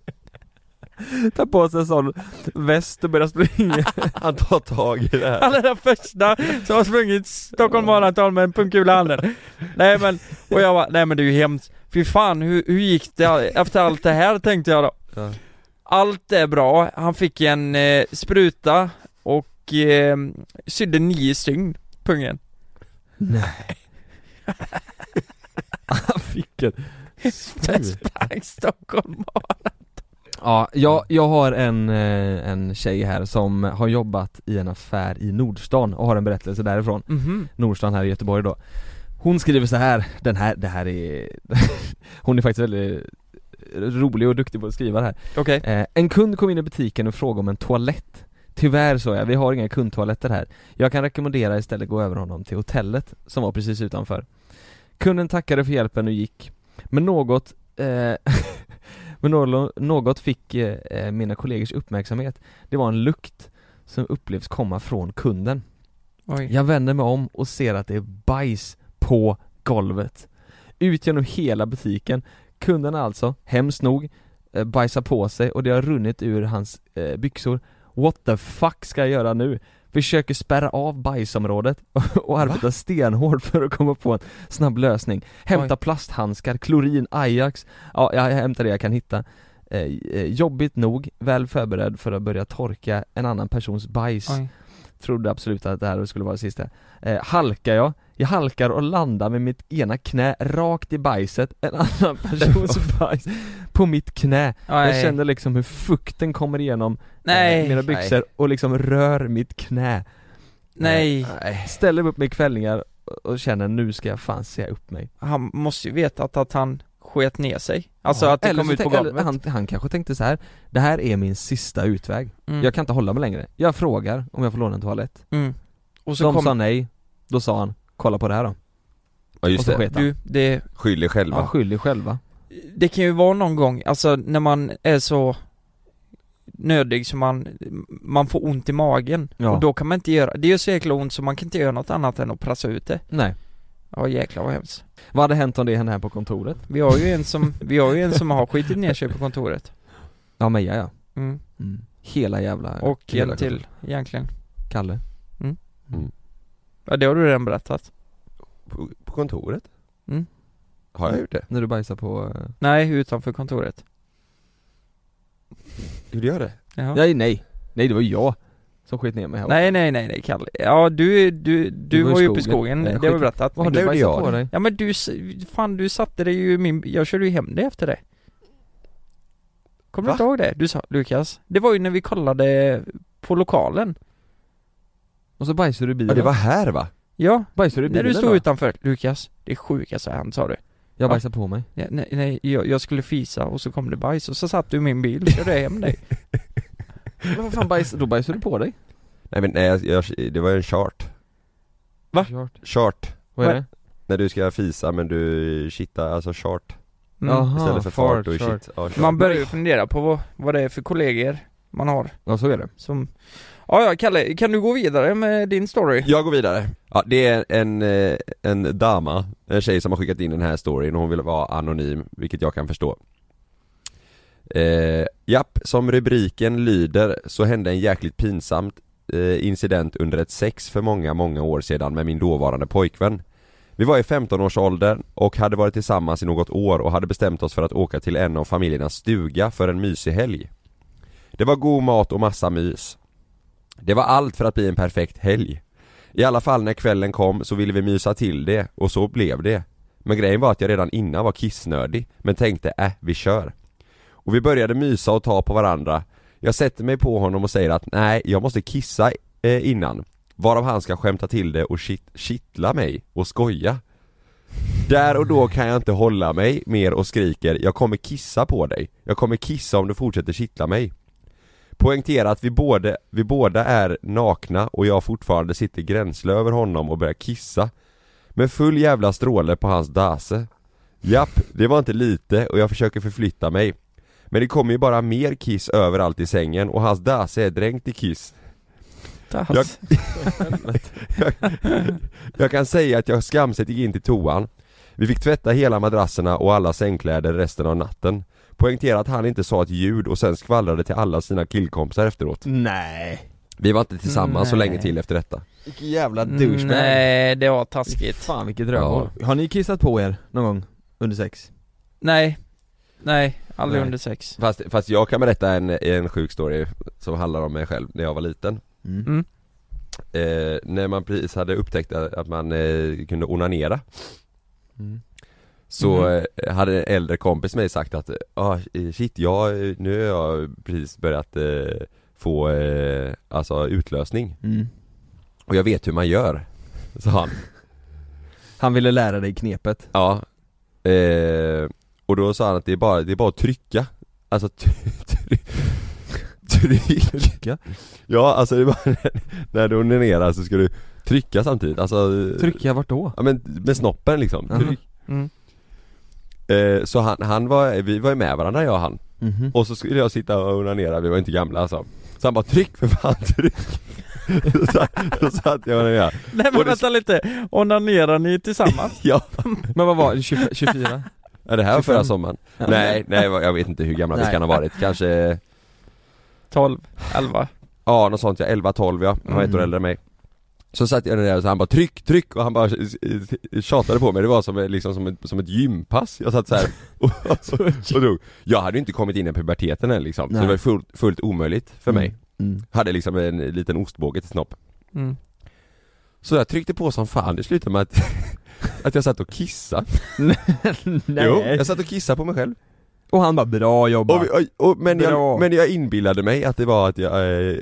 S1: [LAUGHS] Ta på sig en sån väst och börjar springa.
S3: [LAUGHS] Han tar tag i det här
S2: Han är den första som har sprungit Stockholm maraton med en pungkula i handen. Nej men, och jag bara, nej men det är ju hemskt. Fy fan, hur, hur gick det efter allt det här tänkte jag då.
S1: Ja.
S2: Allt är bra, han fick en eh, spruta och eh, sydde nio stygn, pungen. [LAUGHS]
S1: Han fick en
S2: Sen
S1: spruta.
S2: sprang Stockholm
S1: Ja, jag, jag har en, eh, en tjej här som har jobbat i en affär i Nordstan och har en berättelse därifrån.
S2: mm
S1: Nordstan här i Göteborg då. Hon skriver så här, den här, det här är [LAUGHS] Hon är faktiskt väldigt rolig och duktig på att skriva det här.
S2: Okej,
S1: Eh, en kund kom in i butiken och frågade om en toalett. Tyvärr så jag, vi har inga kundtoaletter här. Jag kan rekommendera istället gå över honom till hotellet som var precis utanför. Kunden tackade för hjälpen och gick. Men något, eh, [LAUGHS] men något- något fick eh, eh, mina kollegors uppmärksamhet. Det var en lukt som upplevs komma från kunden.
S2: oj.
S1: Jag vänder mig om och ser att det är bajs på golvet. Ut genom hela butiken. Kunden alltså, hemskt nog, eh, bajsar på sig och det har runnit ur hans eh, byxor. What the fuck ska jag göra nu? Försöker spärra av bajsområdet [LAUGHS] och arbetar stenhårt för att komma på en snabb lösning. Hämta
S2: Oj.
S1: plasthandskar, klorin, Ajax. Ja, jag hämtar det jag kan hitta. Eh, eh, jobbigt nog, väl förberedd för att börja torka en annan persons bajs
S2: oj.
S1: trodde absolut att det här skulle vara det sista. Eh, halkar jag, jag halkar och landar med mitt ena knä rakt i bajset, en
S2: [LAUGHS]
S1: annan persons bajs, på mitt knä. Jag
S2: Nej.
S1: känner liksom hur fukten kommer igenom eh, mina
S2: nej,
S1: byxor och liksom rör mitt knä. Eh,
S2: nej.
S1: Ställer mig upp med kvällningar och- och känner nu ska jag fan se upp mig.
S2: Han måste ju veta att, att han sket ner sig. Alltså
S1: Ja.
S2: att det
S1: Eller
S2: kom
S1: så
S2: ut på
S1: tänk- eller
S2: golvet.
S1: Han, han kanske tänkte så här. det här är min sista utväg.
S2: Mm.
S1: Jag kan inte hålla mig längre. Jag frågar om jag får låna en toalett.
S2: Mm. Och så
S1: De
S2: kom
S1: sa nej, då sa han, kolla på det här då.
S3: Ja
S1: Och
S3: just
S1: så
S3: det,
S1: sket han.
S2: du, det,
S3: skyll er själva
S1: Ja, skyll dig själva.
S2: det kan ju vara någon gång, alltså när man är så nödig så man, man får ont i magen.
S1: Ja.
S2: Och då kan man inte göra, det gör så jäkla ont så man kan inte göra något annat än att pressa ut det.
S1: Nej.
S2: Ja jäklar vad hemskt.
S1: Vad hade hänt om det hände här på kontoret?
S2: Vi har ju en som, vi har ju en som har skitit ner sig på kontoret.
S1: Ja Meja ja.
S2: Mm.
S1: Hela jävla
S2: Och
S1: hela
S2: en till egentligen.
S1: Kalle.
S2: Ja det har du redan berättat.
S3: På, på kontoret?
S2: Mm.
S3: Har jag gjort det?
S1: När du bajsar på... eh,
S2: Nej, utanför kontoret.
S3: Gjorde jag det?
S2: Jaha.
S1: Nej nej. Nej det var jag som skit ner mig här.
S2: Nej nej nej nej Kalle. Ja du, du, du,
S1: Du
S2: var ju uppe i skogen,
S1: Nej,
S2: det har vi
S1: skit.
S2: berättat. Liksom.
S1: Vad har du
S3: Det gjorde
S1: bajsat
S3: jag.
S1: på dig?
S2: Ja men du, s- fan du satte dig ju i min, jag körde ju hem dig efter det Kommer du
S3: Va?
S2: inte ihåg det? Du sa, Lukas, det var ju när vi kollade på lokalen
S1: Och så bajsar du i bilen?
S3: Ja det var här va?
S2: Ja,
S1: Bajsar du i
S2: när
S1: bilen
S2: du stod
S1: då?
S2: utanför, Lukas, det sjukaste har hänt sa du
S1: Jag bajsade på mig.
S2: ja, Nej, nej jag, jag skulle fisa och så kom det bajs och så satt du i min bil och körde
S1: [LAUGHS]
S2: hem dig
S1: Men vad fan bajs, då bajsar du på dig?
S3: Nej men nej, jag, jag, det var en chart
S2: Va?
S1: Kört.
S3: Chart
S1: Vad är
S2: Vad-
S1: det?
S3: När du ska fisa men du kittar, alltså chart
S2: mm.
S1: Jaha,
S3: Istället för fart och shit ja, chart.
S2: Man börjar ju fundera på vad, vad det är för kollegor man har
S1: Ja så är det.
S2: som Ja ja Kalle, kan du gå vidare med din story?
S3: Jag går vidare. Ja, det är en, eh, en dama, en tjej som har skickat in den här storyn och hon vill vara anonym, vilket jag kan förstå. Eh, japp, som rubriken lyder så hände en jäkligt pinsamt eh, incident under ett sex för många, många år sedan med min dåvarande pojkvän. Vi var i 15-årsåldern och hade varit tillsammans i något år och hade bestämt oss för att åka till en av familjernas stuga för en mysig helg. Det var god mat och massa mys. Det var allt för att bli en perfekt helg. I alla fall när kvällen kom så ville vi mysa till det och så blev det. Men grejen var att jag redan innan var kissnödig men tänkte äh, vi kör. Och vi började mysa och ta på varandra. Jag sätter mig på honom och säger att nej, jag måste kissa eh, innan. Varav han ska skämta till det och kitt, kittla mig och skoja. Där och då kan jag inte hålla mig mer och skriker jag kommer kissa på dig. Jag kommer kissa om du fortsätter kittla mig. Poängtera att vi, både, vi båda är nakna och jag fortfarande sitter gränsle över honom och börjar kissa Med full jävla stråle på hans dase Japp, det var inte lite och jag försöker förflytta mig Men det kommer ju bara mer kiss överallt i sängen och hans dase är dränkt i kiss Jag- Jag kan säga att jag skamset gick in till toan Vi fick tvätta hela madrasserna och alla sängkläder resten av natten Poängtera att han inte sa ett ljud och sen skvallrade till alla sina killkompisar efteråt
S1: Nej.
S3: Vi var inte tillsammans så
S2: Nej.
S3: länge till efter detta
S1: Vilken jävla douchebag.
S2: Nej, det var taskigt
S1: Fan vilket rövhål. Har ni kissat på er någon gång under sex?
S2: Nej, nej, aldrig
S1: Nej.
S2: under sex
S3: Fast, fast jag kan berätta en, en sjuk story som handlar om mig själv när jag var liten
S1: Mm.
S2: mm.
S3: eh, När man precis hade upptäckt att att man eh, kunde onanera
S1: Mm.
S3: Så
S2: Mhm.
S3: eh, hade en äldre kompis med mig sagt att ah, eh, shit, jag, eh, nu har jag precis börjat eh, få eh, alltså utlösning
S1: Mm.
S3: och jag vet hur man gör Sa han
S1: Han ville lära dig knepet.
S3: Ja eh, Och då sa han att det är bara, det är bara att trycka Alltså try- try- tryck
S1: Trycka.
S3: Ja alltså det är bara [LAUGHS] när du onanerar så ska du trycka samtidigt, alltså eh,
S1: Trycka vart då?
S3: Ja men med snoppen liksom
S1: Jaha.
S3: Tryck.
S2: Mm.
S3: Eh, Så han, han var, vi var ju med varandra jag och han
S1: Mhm.
S3: Och så skulle jag sitta och onanera, vi var inte gamla alltså Så han bara 'tryck för fan, tryck' [LAUGHS] så, så satt jag och onanerade
S2: Nej men
S3: Och det-
S2: vänta lite, onanerar ni tillsammans?
S3: Ja,
S1: Men vad var det? 20 24?
S3: Ja, det här var förra
S1: 25.
S3: sommaren
S1: [LAUGHS] Ja.
S3: Nej, nej jag vet inte hur gamla vi
S1: Nej.
S3: kan ha varit, kanske
S2: 12, 11
S3: Ja, något sånt ja, 11, 12 ja, han var ett år
S1: Mm.
S3: äldre än mig Så satt jag där och så han bara 'tryck, tryck' och han bara tjatade på mig, det var som, liksom, som, ett, som ett gympass Jag satt så
S1: [LAUGHS]
S3: här och, och, och drog Jag hade ju inte kommit in i puberteten än liksom, så
S1: Nej.
S3: det var fullt, fullt omöjligt för mig
S1: Mm.
S3: Hade liksom en liten ostbåge till snopp
S2: mm.
S3: Så jag tryckte på som fan, det slutade med att, [LAUGHS] att jag satt och kissade
S1: Mm. Nej.
S3: Jo, jag satt och kissade på mig själv
S1: Och han bara 'Bra jobbat'
S3: och, vi- och, och, men,
S1: Bra.
S3: jag, men jag inbillade mig att det var att jag, eh,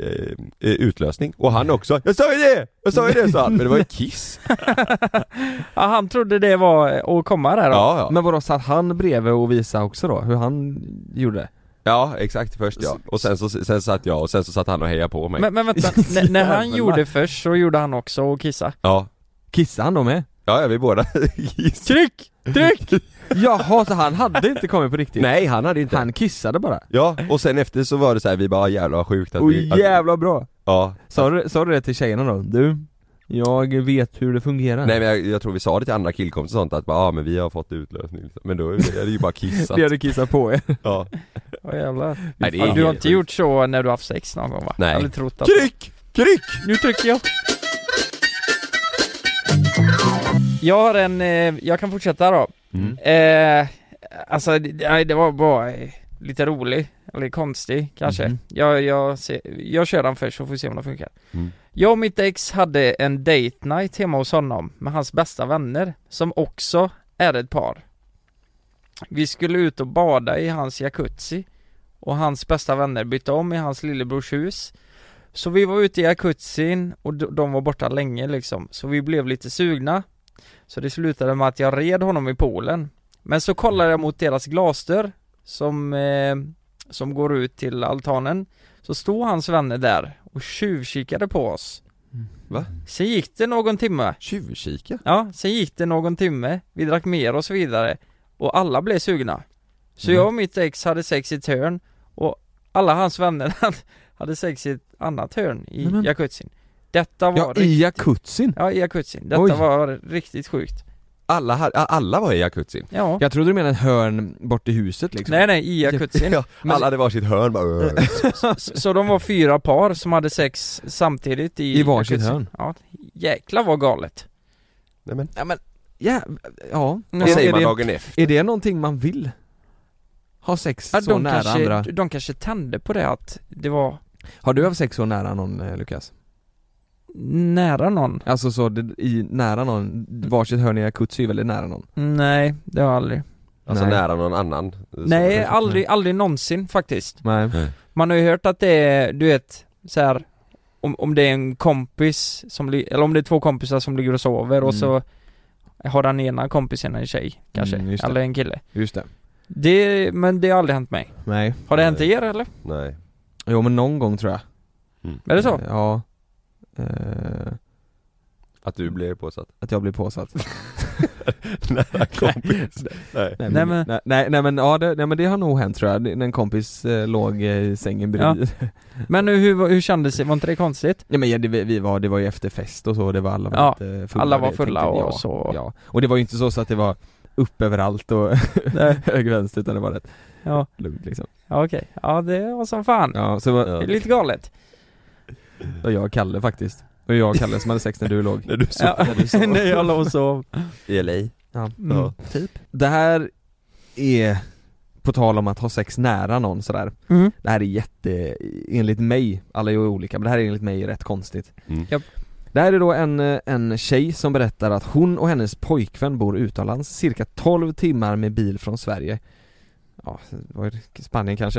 S3: eh, utlösning, och han också 'Jag sa ju det! Jag sa ju det!' sa han, men det var ju kiss
S2: [LAUGHS] ja, Han trodde det var eh, att komma där då?
S3: Ja, ja.
S1: Men vadå, satt han bredvid och visade också då hur han gjorde? det?
S3: ja exakt först ja, och sen så sen satt jag och sen så satt han och hejade på mig [LAUGHS]
S2: Men, men vänta, N- när han
S1: Jävlar.
S2: gjorde först så gjorde han också och kissa
S3: Ja,
S1: Kissade han då med?
S3: ja, Ja, ja vi båda [LAUGHS]
S2: Tryck! Tryck!
S1: Jaha, så han hade inte kommit på riktigt?
S3: Nej han hade inte
S1: Han kissade bara?
S3: Ja, och sen efter så var det så här, vi bara "Ah, jävlar vad sjukt att
S1: Åh
S3: vi, att,
S1: jävla bra!
S3: Ja,
S1: Sa du, sa du det till tjejerna då? Du, jag vet hur det fungerar
S3: nej men jag, jag tror vi sa det till andra killkompisar och sånt att bara, ja ah, men vi har fått utlösning liksom. Men då är det ju bara
S1: [LAUGHS]
S3: kissat
S1: Det har du kissat på er
S3: ja.
S2: Åh jävlar.
S3: Nej, det är
S2: Ja, du har
S3: helt
S2: inte
S3: sjukt.
S2: gjort så när du har haft sex någon gång va?
S3: Nej.
S2: Aldrig trott att...
S3: [LAUGHS] Kryck! Kryck!
S2: Nu trycker jag! Jag har en, eh, jag kan fortsätta då.
S3: Mm.
S2: Eh, alltså, det, nej, det var bara eh, lite rolig, eller konstig kanske.
S1: Mhm.
S2: Jag, jag, ser, jag kör den först så får vi se om den funkar.
S3: Mm.
S2: Jag och mitt ex hade en date night hemma hos honom med hans bästa vänner, som också är ett par. Vi skulle ut och bada i hans jacuzzi och hans bästa vänner bytte om i hans lillebrors hus. Så vi var ute i jacuzzin och d- de var borta länge liksom, så vi blev lite sugna. Så det slutade med att jag red honom i poolen. Men så kollade jag mot deras glasdörr som, eh, som går ut till altanen. Så stod hans vänner där och tjuvkikade på oss.
S3: Va?
S2: Sen gick det någon timme.
S3: Tjuvkika?
S2: Ja, sen gick det någon timme. Vi drack mer och så vidare. Och alla blev sugna. Så jag och mitt ex hade sex i ett hörn och alla hans vänner [LAUGHS] hade sex i ett annat hörn i
S1: Nej, men-
S2: jacuzzin. Detta var
S1: Ja,
S2: riktigt...
S1: i jacuzzin?
S2: Ja, i jacuzzin. Detta
S1: Oj.
S2: var riktigt sjukt.
S3: Alla, ha- alla var i jacuzzin?
S2: Ja.
S1: Jag trodde du menade ett hörn bort i huset liksom
S2: Nej nej, i jacuzzin.
S3: [LAUGHS] Ja,
S2: Men-
S3: alla hade varsitt hörn bara,
S2: Så, så de var fyra par som hade sex samtidigt i
S1: I varsitt
S2: jacuzzin.
S1: hörn.
S2: Ja, jäklar vad galet.
S3: Nej men,
S1: Ja men, ja, ja.
S2: Det
S3: det
S1: Alltså,
S3: säger
S1: är
S3: man
S1: det,
S3: dagen efter
S1: Är det någonting man vill? Ha sex
S2: Ja,
S1: så
S2: de,
S1: nära andra?
S2: kanske, de kanske tände på det att det var
S1: Har du haft sex så nära någon eh, Lukas?
S2: nära någon.
S1: Alltså så det, i, nära någon, varsitt hörn i jacuzzi är väldigt nära någon?
S2: Nej, det har jag aldrig.
S3: Alltså
S1: Nej.
S3: nära någon annan
S2: Nej,
S3: Så-
S2: aldrig, aldrig någonsin faktiskt.
S1: Nej
S2: Man har ju hört att det är, du vet, så här om, om det är en kompis som, li- eller om det är två kompisar som ligger och sover och
S1: Mm.
S2: så har den ena kompisen en tjej kanske,
S1: Mm, just det.
S2: eller en kille.
S1: Just det
S2: Det, men det har aldrig hänt mig.
S1: Nej
S2: Har det hänt
S3: Nej.
S2: er eller?
S3: Nej
S1: Jo men någon gång tror jag
S2: Är det så?
S1: Ja Eh,
S3: Att du blev påsatt?
S1: Att jag blir påsatt
S3: [LAUGHS] Nära kompis? Nej
S1: Nej
S2: [LAUGHS] Nej,
S1: men,
S2: men-
S1: nej, nej, nej, men, ja, det, nej men det har nog hänt tror jag, Det- när en kompis eh, låg eh, i sängen bredvid
S2: Men hur, hur, hur kändes det? Var inte det konstigt?
S1: Nej men ja, det, vi vi var, det var ju efterfest och så, det var alla var
S2: Ja,
S1: lite fulla
S2: alla var
S1: Det
S2: fulla
S1: tänkte-
S2: och så.
S1: Ja, och det var ju inte så, så att det var upp överallt och [LAUGHS] höger vänster utan det var rätt
S2: Ja,
S1: lugnt liksom
S2: ja okej. Ja det var som fan.
S1: Ja, så det var
S2: Det är lite galet.
S1: det var jag och Kalle faktiskt Och jag och Kalle som hade sex när du låg
S3: [LAUGHS] När du sov
S2: Ja, [LAUGHS] när jag låg och sov.
S3: i LA?
S2: Mm.
S3: Ja.
S1: Det här är, på tal om att ha sex nära någon sådär
S2: Mm.
S1: Det här är jätte, enligt mig, alla är ju olika, men det här är enligt mig rätt konstigt
S3: Mm.
S2: Japp.
S1: Det här är då en, eh, en tjej som berättar att hon och hennes pojkvän bor utomlands cirka 12 timmar med bil från Sverige Ja, det var ju Spanien kanske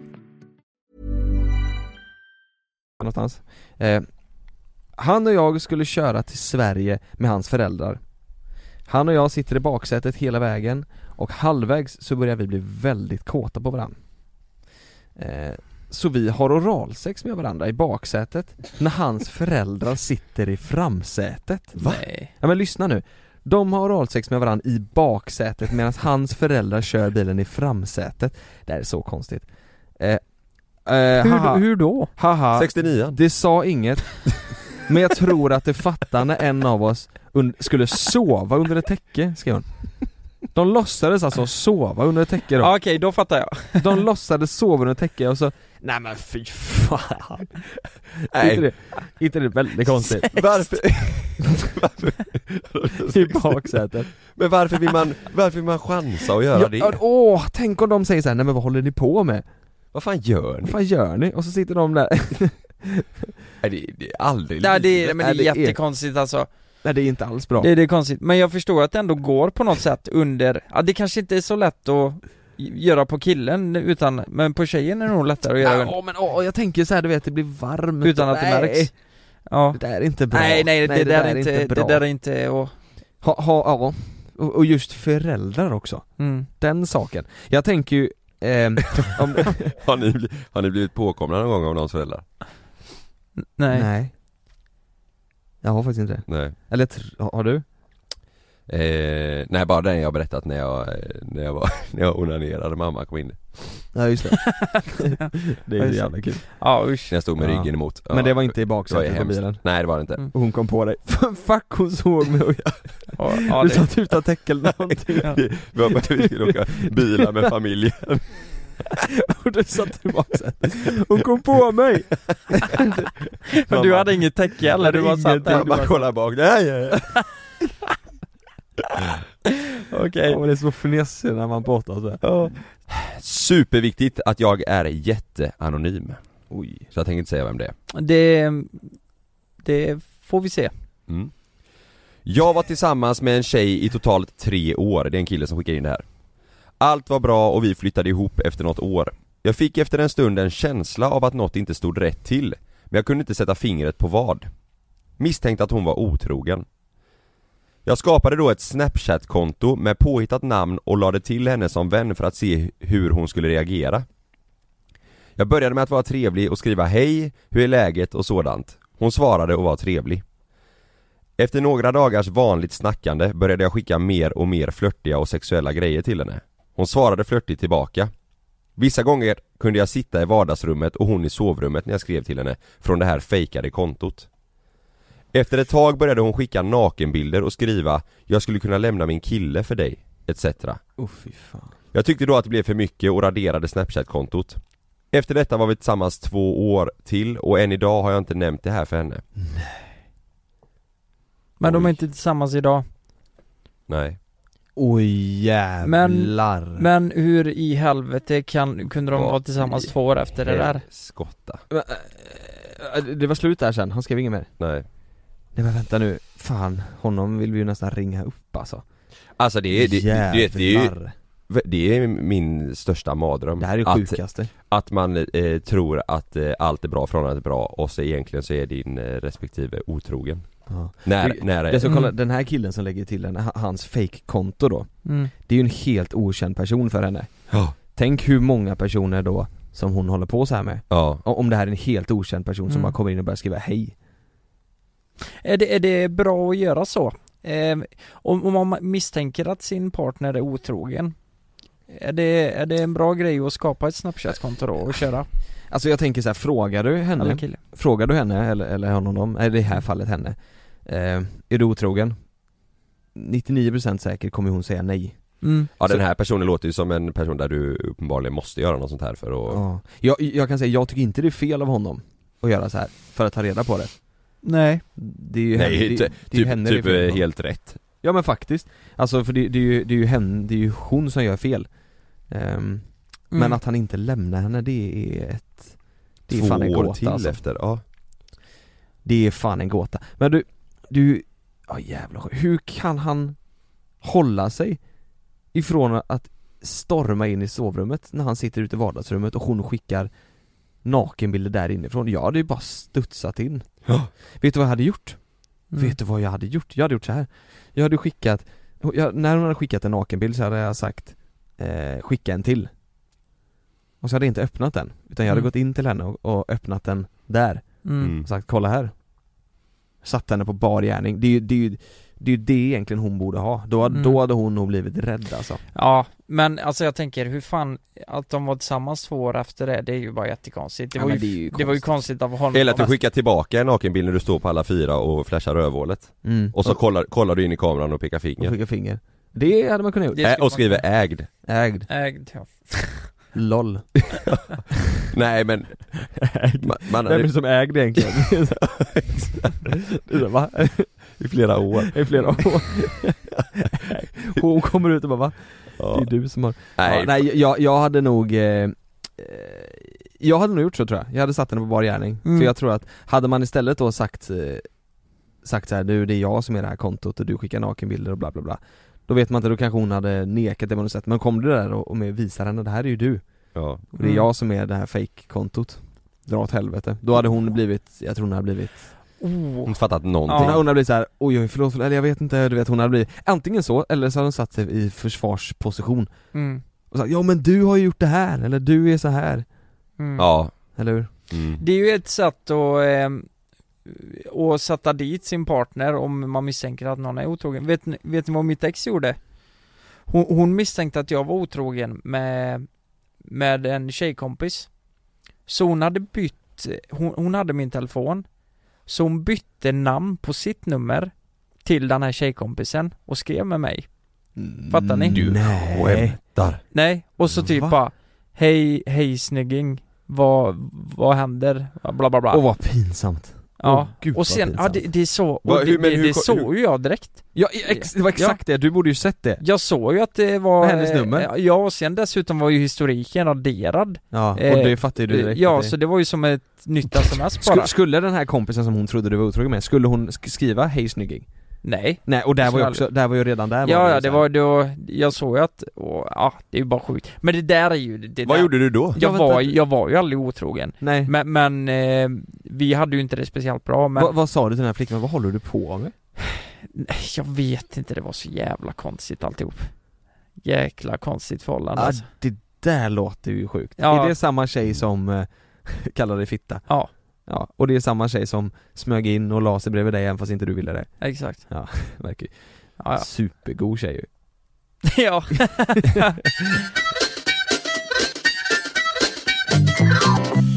S1: någonstans. Eh, han och jag skulle köra till Sverige med hans föräldrar. Han och jag sitter i baksätet hela vägen och halvvägs så börjar vi bli väldigt kåta på varandra. Eh, så vi har oralsex med varandra i baksätet när hans föräldrar sitter i framsätet.
S2: Nej.
S1: Ja men lyssna nu. De har oralsex med varandra i baksätet medan hans föräldrar kör bilen i framsätet. Det här är så konstigt. Eh, eh, haha,
S2: Hur, hur då?
S1: [LAUGHS] haha.
S3: 69
S1: Det sa inget Men jag tror att det fattar när en av oss un- skulle sova under ett täcke, skrev hon. De låtsades alltså sova under ett täcke då.
S2: Ja, Okej, då fattar jag.
S1: De låtsades sova under ett täcke och så, nej men fy fan.
S3: Nej.
S1: Inte, det, inte det väldigt konstigt?
S3: Varför?
S1: [LAUGHS] I baksätet.
S3: Men varför vill man, varför vill man chansa och göra
S1: Ja,
S3: det?
S1: Åh, tänk om de säger såhär, nej men vad håller ni på med?
S3: Vad fan gör
S1: Vad
S3: ni?
S1: fan gör ni? Och så sitter de där [LAUGHS]
S3: Nej, det, det är aldrig
S2: Nej, det, är- men det
S1: Nej,
S2: är
S1: det är-
S2: jättekonstigt alltså.
S1: Nej det är inte alls bra
S2: Det, det är konstigt, men jag förstår att det ändå går på något sätt under, ja det kanske inte är så lätt att göra på killen utan, men på tjejen är det nog lättare att göra
S1: Ja,
S2: under,
S1: åh, men åh, jag tänker så här, du vet det blir varmt
S2: utan att det
S1: Nej,
S2: märks. Ja.
S1: Det där är inte bra
S2: Nej, nej, det, där är inte,
S1: bra.
S2: det där är inte, och,
S1: ha, ha, ja. och, och just föräldrar också,
S2: mm.
S1: den saken Jag tänker ju, ehm, om,
S3: Har ni, bli- har ni blivit påkomna någon gång av någons föräldrar?
S2: [LAUGHS] nej.
S1: nej Jag har faktiskt inte det,
S3: Nej
S1: eller tr- har har du?
S3: eh, Nej bara den jag har berättat när jag, eh, när jag var, [LAUGHS] när jag onanerade mamma kom in
S1: Ja
S2: [LAUGHS]
S1: just det, det
S2: Ja,
S1: är
S2: just
S1: ju jävla kul
S2: Ja usch.
S3: När jag stod med
S1: Ja.
S3: ryggen emot Ja,
S1: Men det var inte i
S3: det var ju
S1: baksätet på
S3: hemskt.
S1: bilen?
S3: Nej det var det inte
S2: Mm.
S1: Och hon kom på dig, [LAUGHS] fuck hon såg mig och
S2: Ja, ja,
S1: du
S2: det,
S1: sa typ ta
S2: [LAUGHS]
S1: täckel någonting
S2: ja.
S3: [LAUGHS] Vi var på att vi skulle åka
S1: [LAUGHS]
S3: bilar med familjen
S1: och du satt tillbaka så här. Hon kom på [LAUGHS] mig!
S2: Men du hade inget täcke eller? Du var satt där?
S3: Jag
S2: Du var-
S3: bara kollade bak, nej! eh. [LAUGHS]
S1: Okej okay. Det är så fnissig när man pratar så här.
S3: Superviktigt att jag är jätteanonym
S1: Oj
S3: Så jag tänker inte säga vem det är
S2: Det, det får vi se.
S3: mm. Jag var tillsammans med en tjej i totalt tre år, det är en kille som skickar in det här Allt var bra och vi flyttade ihop efter något år Jag fick efter en stund en känsla av att något inte stod rätt till Men jag kunde inte sätta fingret på vad Misstänkte att hon var otrogen Jag skapade då ett snapchat-konto med påhittat namn och lade till henne som vän för att se hur hon skulle reagera Jag började med att vara trevlig och skriva hej, hur är läget och sådant Hon svarade och var trevlig efter några dagars vanligt snackande började jag skicka mer och mer flörtiga och sexuella grejer till henne. Hon svarade flörtigt tillbaka. Vissa gånger kunde jag sitta i vardagsrummet och hon i sovrummet när jag skrev till henne från det här fejkade kontot. Efter ett tag började hon skicka nakenbilder och skriva 'Jag skulle kunna lämna min kille för dig' etc.
S1: Oh fy fan
S3: Jag tyckte då att det blev för mycket och raderade snapchat-kontot Efter detta var vi tillsammans två år till och än idag har jag inte nämnt det här för henne
S2: Men de är
S3: Oj.
S2: inte tillsammans idag.
S3: Nej
S1: Oj jävlar Men,
S2: Men hur i helvete kan, kunde de
S3: Vad
S2: vara tillsammans
S3: i
S2: två år efter det där?
S3: Skotta
S1: eh, det var slut där sen, han skrev inget mer
S3: Nej
S1: Nej men vänta nu, fan honom vill vi ju nästan ringa upp alltså
S3: Alltså det är, det, det, det, det, är,
S1: Jävlar.
S3: ju- det är min största mardröm
S1: Det här är det
S3: att,
S1: sjukaste
S3: att man eh, tror att eh, allt är bra, förhållandet är bra och så egentligen så är din eh, respektive otrogen
S1: ja.
S3: När,
S1: Det-
S3: när
S1: Jag ska kolla,
S2: Mm.
S1: den här killen som lägger till henne, ha- hans fake-konto då
S2: Mm.
S1: Det är ju en helt okänd person för henne
S3: Ja.
S1: Tänk hur många personer då som hon håller på så här med
S3: Ja,
S1: O- Om det här är en helt okänd person som
S2: Mm.
S1: bara kommer in och börjar skriva hej
S2: Är, det, är det bra att göra så? Eh, om, om man misstänker att sin partner är otrogen är det, är det en bra grej att skapa ett snapchat-konto då och köra?
S1: Alltså jag tänker så här, frågar du henne?
S2: Eller kille?
S1: Frågar du henne, eller, eller honom, nej, i det
S3: Mm.
S1: här fallet henne eh, Är du otrogen? 99% säker kommer hon säga nej
S2: Mm.
S3: ja den
S1: Så-
S3: här personen låter ju som en person där du uppenbarligen måste göra något sånt här för att
S1: ja. jag, jag kan säga, jag tycker inte det är fel av honom att göra så här för att ta reda på det
S2: Nej.
S1: Det är ju henne,
S3: Nej,
S1: det,
S3: ty-
S1: det är ju
S3: typ,
S1: henne det är
S3: typ
S1: fel
S3: eh,
S1: på.
S3: helt rätt
S1: Ja men faktiskt, alltså för det, det, är, ju, det är ju henne, det är ju hon som gör fel Ehm,
S2: Mm.
S1: Men att han inte lämnar henne det är ett Det är
S3: Två
S1: fan en
S3: år
S1: gåta,
S3: till
S1: alltså.
S3: efter, ja
S1: Det är fan en gåta. Men du, du, ja jävlar Hur kan han hålla sig ifrån att storma in i sovrummet när han sitter ute i vardagsrummet och hon skickar nakenbilder där inifrån? Jag hade ju bara studsat in.
S3: Ja.
S1: Vet du vad jag hade gjort?
S2: Mm.
S1: Vet du vad jag hade gjort? Jag hade gjort så här. Jag hade skickat, jag, när hon hade skickat en nakenbild så hade jag sagt eh, skicka en till. Och så hade jag inte öppnat den, utan jag hade
S2: Mm.
S1: gått in till henne och, och öppnat den där
S2: Mm.
S3: Mm.
S1: och sagt kolla här Satt henne på bar gärning, det är ju, det är ju, Det är ju det egentligen hon borde ha, då,
S2: Mm.
S1: då hade hon nog blivit rädd alltså
S2: Ja, men alltså jag tänker hur fan, att de var tillsammans två år efter det, det är ju bara jättekonstigt. Det,
S1: Ja,
S2: var, ju,
S1: men
S2: det,
S1: är ju typ-
S2: var ju konstigt av honom.
S3: Eller att du skickar tillbaka en nakenbild när du står på alla fyra och flashar rövhålet
S1: mm.
S3: Och så kollar, kollar du in i kameran och pekar
S1: och
S3: finger
S1: skicka finger Det hade man kunnat gjort,
S2: Det skulle
S3: Ä- Och skriver ägd
S1: ägd,
S2: Ägd, ja.
S1: LOL
S3: Nej men, [LAUGHS] man,
S1: Vem
S3: man
S1: är det
S3: hade
S1: som ägde
S3: [LAUGHS]
S1: egentligen? [LAUGHS] Det är så, va?
S3: i flera år
S1: I flera
S3: [LAUGHS]
S1: år Hon kommer ut och bara va? Det
S3: ja.
S1: är du som har
S3: Nej,
S1: Ja, nej jag, jag hade nog eh, eh, Jag hade nog gjort så tror jag, jag hade satt henne på bar gärning.
S2: Mm.
S1: För jag tror att, hade man istället då sagt eh, Sagt så här, du det är jag som är det här kontot och du skickar nakenbilder och bla bla bla Då vet man inte, då kanske hon hade nekat det på något sätt, men kom du där och, och med visar henne, det här är ju du
S3: ja.
S1: Och
S2: Mm.
S1: det är jag som är det här fake-kontot Dra åt helvete, då hade hon blivit, jag tror hon hade blivit
S3: Hon har
S2: Mm.
S3: inte fattat någonting
S1: Hon hade- hon hade blivit såhär, oj oj förlåt, förlåt, eller jag vet inte, du vet hon hade blivit Antingen så, eller så hade hon satt sig i försvarsposition
S2: Mm.
S1: och sagt, ja men du har ju gjort det här, eller du är så här
S2: Mm.
S3: Ja,
S1: eller hur?
S3: mm.
S2: Det är ju ett sätt att, eh, att sätta dit sin partner om man misstänker att någon är otrogen. Vet, ni- vet ni vad mitt ex gjorde? Hon, hon misstänkte att jag var otrogen med, med en tjejkompis. Så hon hade bytt, hon, hon hade min telefon. Så hon bytte namn på sitt nummer till den här tjejkompisen och skrev med mig. Fattar ni?
S1: Du Nej.
S3: skämtar
S2: Nej, och så typ
S1: Va?
S2: bara Hej, hej snygging. Vad, vad händer? Bla bla bla.
S1: Åh vad pinsamt
S2: Ja,
S1: Åh, gud, vad
S2: och sen, ja
S1: pinsamt.
S2: det, det är så, och
S3: Va, hur-
S2: det,
S3: men
S2: det,
S3: hur
S2: det
S3: ko-
S2: såg ju jag direkt
S1: ja, ex, Det var exakt det, du borde ju sett det
S2: Jag såg ju att det var...
S1: Med hennes nummer?
S2: eh, Ja, och sen dessutom var ju historiken raderad
S1: Ja, och
S2: Eh,
S1: det fattar ju du direkt
S2: Ja,
S1: att det-
S2: så det var ju som ett nytt sms bara
S1: Sku- Skulle den här kompisen som hon trodde du var otrogen med, skulle hon sk- skriva 'Hej snygging'?
S2: Nej,
S1: Nej och där var
S2: Skulle
S1: ju också, där var ju redan där
S2: ja
S1: ju
S2: ja,
S1: så
S2: det
S1: här-
S2: var då, jag såg ju att, och, ja det är ju bara sjukt Men det där är ju, det
S3: Vad
S2: där,
S3: gjorde du då?
S1: Ja,
S2: jag,
S1: vänta.
S2: var, jag var ju aldrig otrogen
S1: Nej,
S2: Men, men eh, vi hade ju inte det speciellt bra men,
S1: vad, vad sa du till den här flickan? Vad håller du på med?
S2: nej, jag vet inte, det var så jävla konstigt alltihop Jäkla konstigt förhållande
S1: Ja,
S2: alltså.
S1: Ah, det där låter ju sjukt.
S2: Ja.
S1: Är det samma tjej som eh, [LAUGHS] kallar dig fitta?
S2: Ja.
S1: Ja, och det är samma tjej som smög in och la sig bredvid dig även fast inte du ville det.
S2: Exakt,
S1: Verkar ju
S2: ja, ja.
S1: supergod tjej ju.
S2: ja.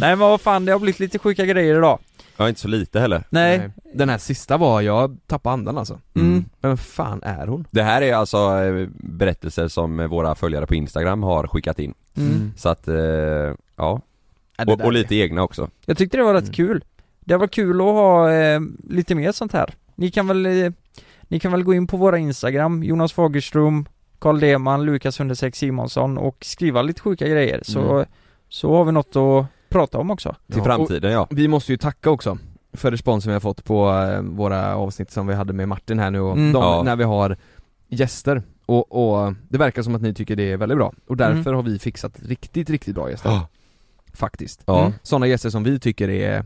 S2: Nej men vad fan, det har blivit lite sjuka grejer idag.
S3: Ja, inte så lite heller
S2: Nej.
S1: Den här sista var, jag tappade andan alltså.
S2: Mm.
S1: Vem fan är hon?
S3: Det här är alltså eh, berättelser som eh, våra följare på Instagram har skickat in
S2: Mm.
S3: Så att, eh, ja,
S1: Ja, Äh, det
S3: och,
S1: där-
S3: och lite egna också
S2: Jag tyckte det var rätt
S1: Mm.
S2: kul. Det var kul att ha eh, lite mer sånt här. Ni kan väl, eh, ni kan väl gå in på våra Instagram, Jonas Fagerström, Karl Deman, Lukas 106 Simonsson och skriva lite sjuka grejer så,
S1: Mm.
S2: så har vi något att prata om också.
S3: Till
S1: Ja, och
S3: framtiden ja
S1: Vi måste ju tacka också för responsen vi har fått på eh, våra avsnitt som vi hade med Martin här nu och
S2: Mm.
S1: de,
S3: Ja.
S1: när vi har gäster. Och, och det verkar som att ni tycker det är väldigt bra. Och
S2: Mm.
S1: därför har vi fixat riktigt, riktigt bra gäster.
S3: Ja.
S1: Faktiskt.
S3: Ja,
S2: Mm.
S1: sådana gäster som vi tycker är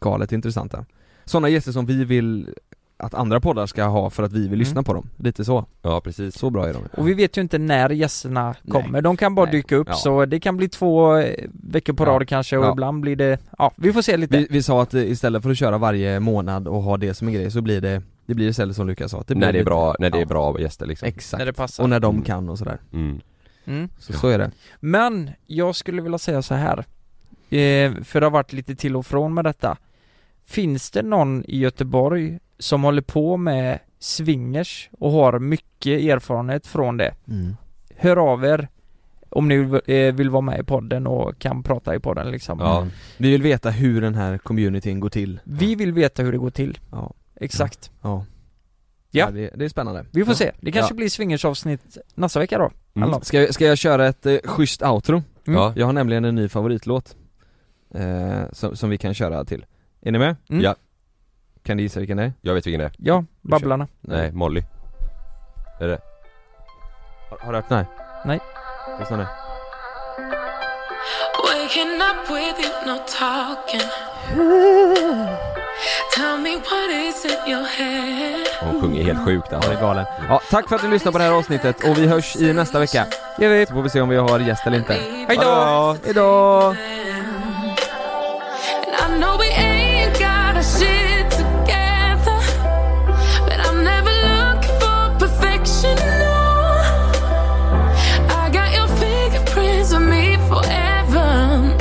S1: galet intressanta. Sådana gäster som vi vill att andra poddar ska ha för att vi vill
S2: Mm.
S1: lyssna på dem. Lite så.
S3: ja precis
S1: Så bra är de.
S2: Och vi vet ju inte när gästerna
S1: Nej.
S2: kommer, de kan bara
S1: Nej.
S2: dyka upp
S1: Ja.
S2: så det kan bli två eh, veckor på
S1: Ja.
S2: rad kanske och
S1: Ja.
S2: ibland blir det, ja vi får se lite
S1: vi, vi sa att eh, istället för att köra varje månad och ha det som en grej så blir det, det blir istället som Lukas sa. att blir
S3: när det är
S1: lite-
S3: bra, när det är
S1: ja.
S3: bra gäster liksom
S1: Exakt.
S2: när det passar.
S1: Och när de
S3: Mm.
S1: kan och sådär.
S3: mm.
S2: Mm.
S1: Så, så är det.
S2: Men jag skulle vilja säga så här, eh, för det har varit lite till och från med detta. Finns det någon i Göteborg som håller på med swingers och har mycket erfarenhet från det? Hör av er om ni vill- eh, vill vara med i podden och kan prata i podden liksom.
S3: Ja.
S1: Mm. Vi vill veta hur den här communityn går till.
S2: Vi vill veta hur det går till.
S1: Ja.
S2: Exakt.
S1: Ja.
S2: Ja.
S1: det, det är spännande.
S2: Vi får
S1: ja.
S2: se. Det kanske blir swingersavsnitt nästa vecka då.
S3: Mm.
S2: Eller?
S1: Ska, jag- ska jag köra ett eh, schysst outro?
S2: Mm.
S3: Ja,
S1: Jag har nämligen en ny favoritlåt eh, som, som vi kan köra till. Är ni med?
S2: Mm.
S3: Ja.
S1: Kan ni gissa vilken det är?
S3: jag vet vilken det är
S2: Ja, Babblarna.
S3: Nej, Molly Är det?
S1: Har, har du hört den här?
S2: Nej.
S1: Lyssna nu.
S8: Waking up with you, no talking. Tell me what is in your head.
S3: Hon sjunger helt sjukt
S1: Ja, det
S3: alltså.
S1: är galen. Ja, tack för att ni lyssnade på det här avsnittet och vi hörs i nästa vecka.
S2: Gör vi.
S1: Så får vi se om vi har gäst eller inte.
S2: Hejdå! Hejdå!
S8: And I know we ain't got our shit together, but I'm never looking.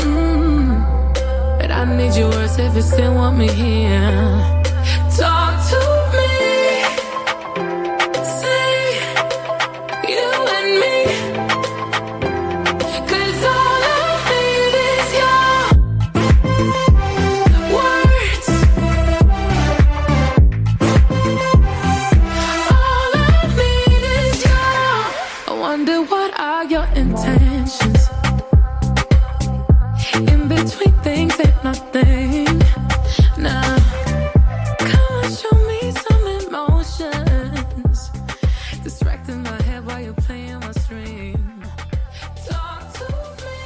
S8: mm. if you still want me here. Talk to me. Say you and me. 'Cause all I need is your words. All I need is your. I wonder what are your intentions? In between things ain't nothing. Now, come and show me some emotions. Distracting my head while you're playing my string. Talk to me.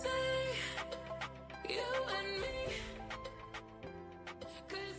S8: Say you and me. 'Cause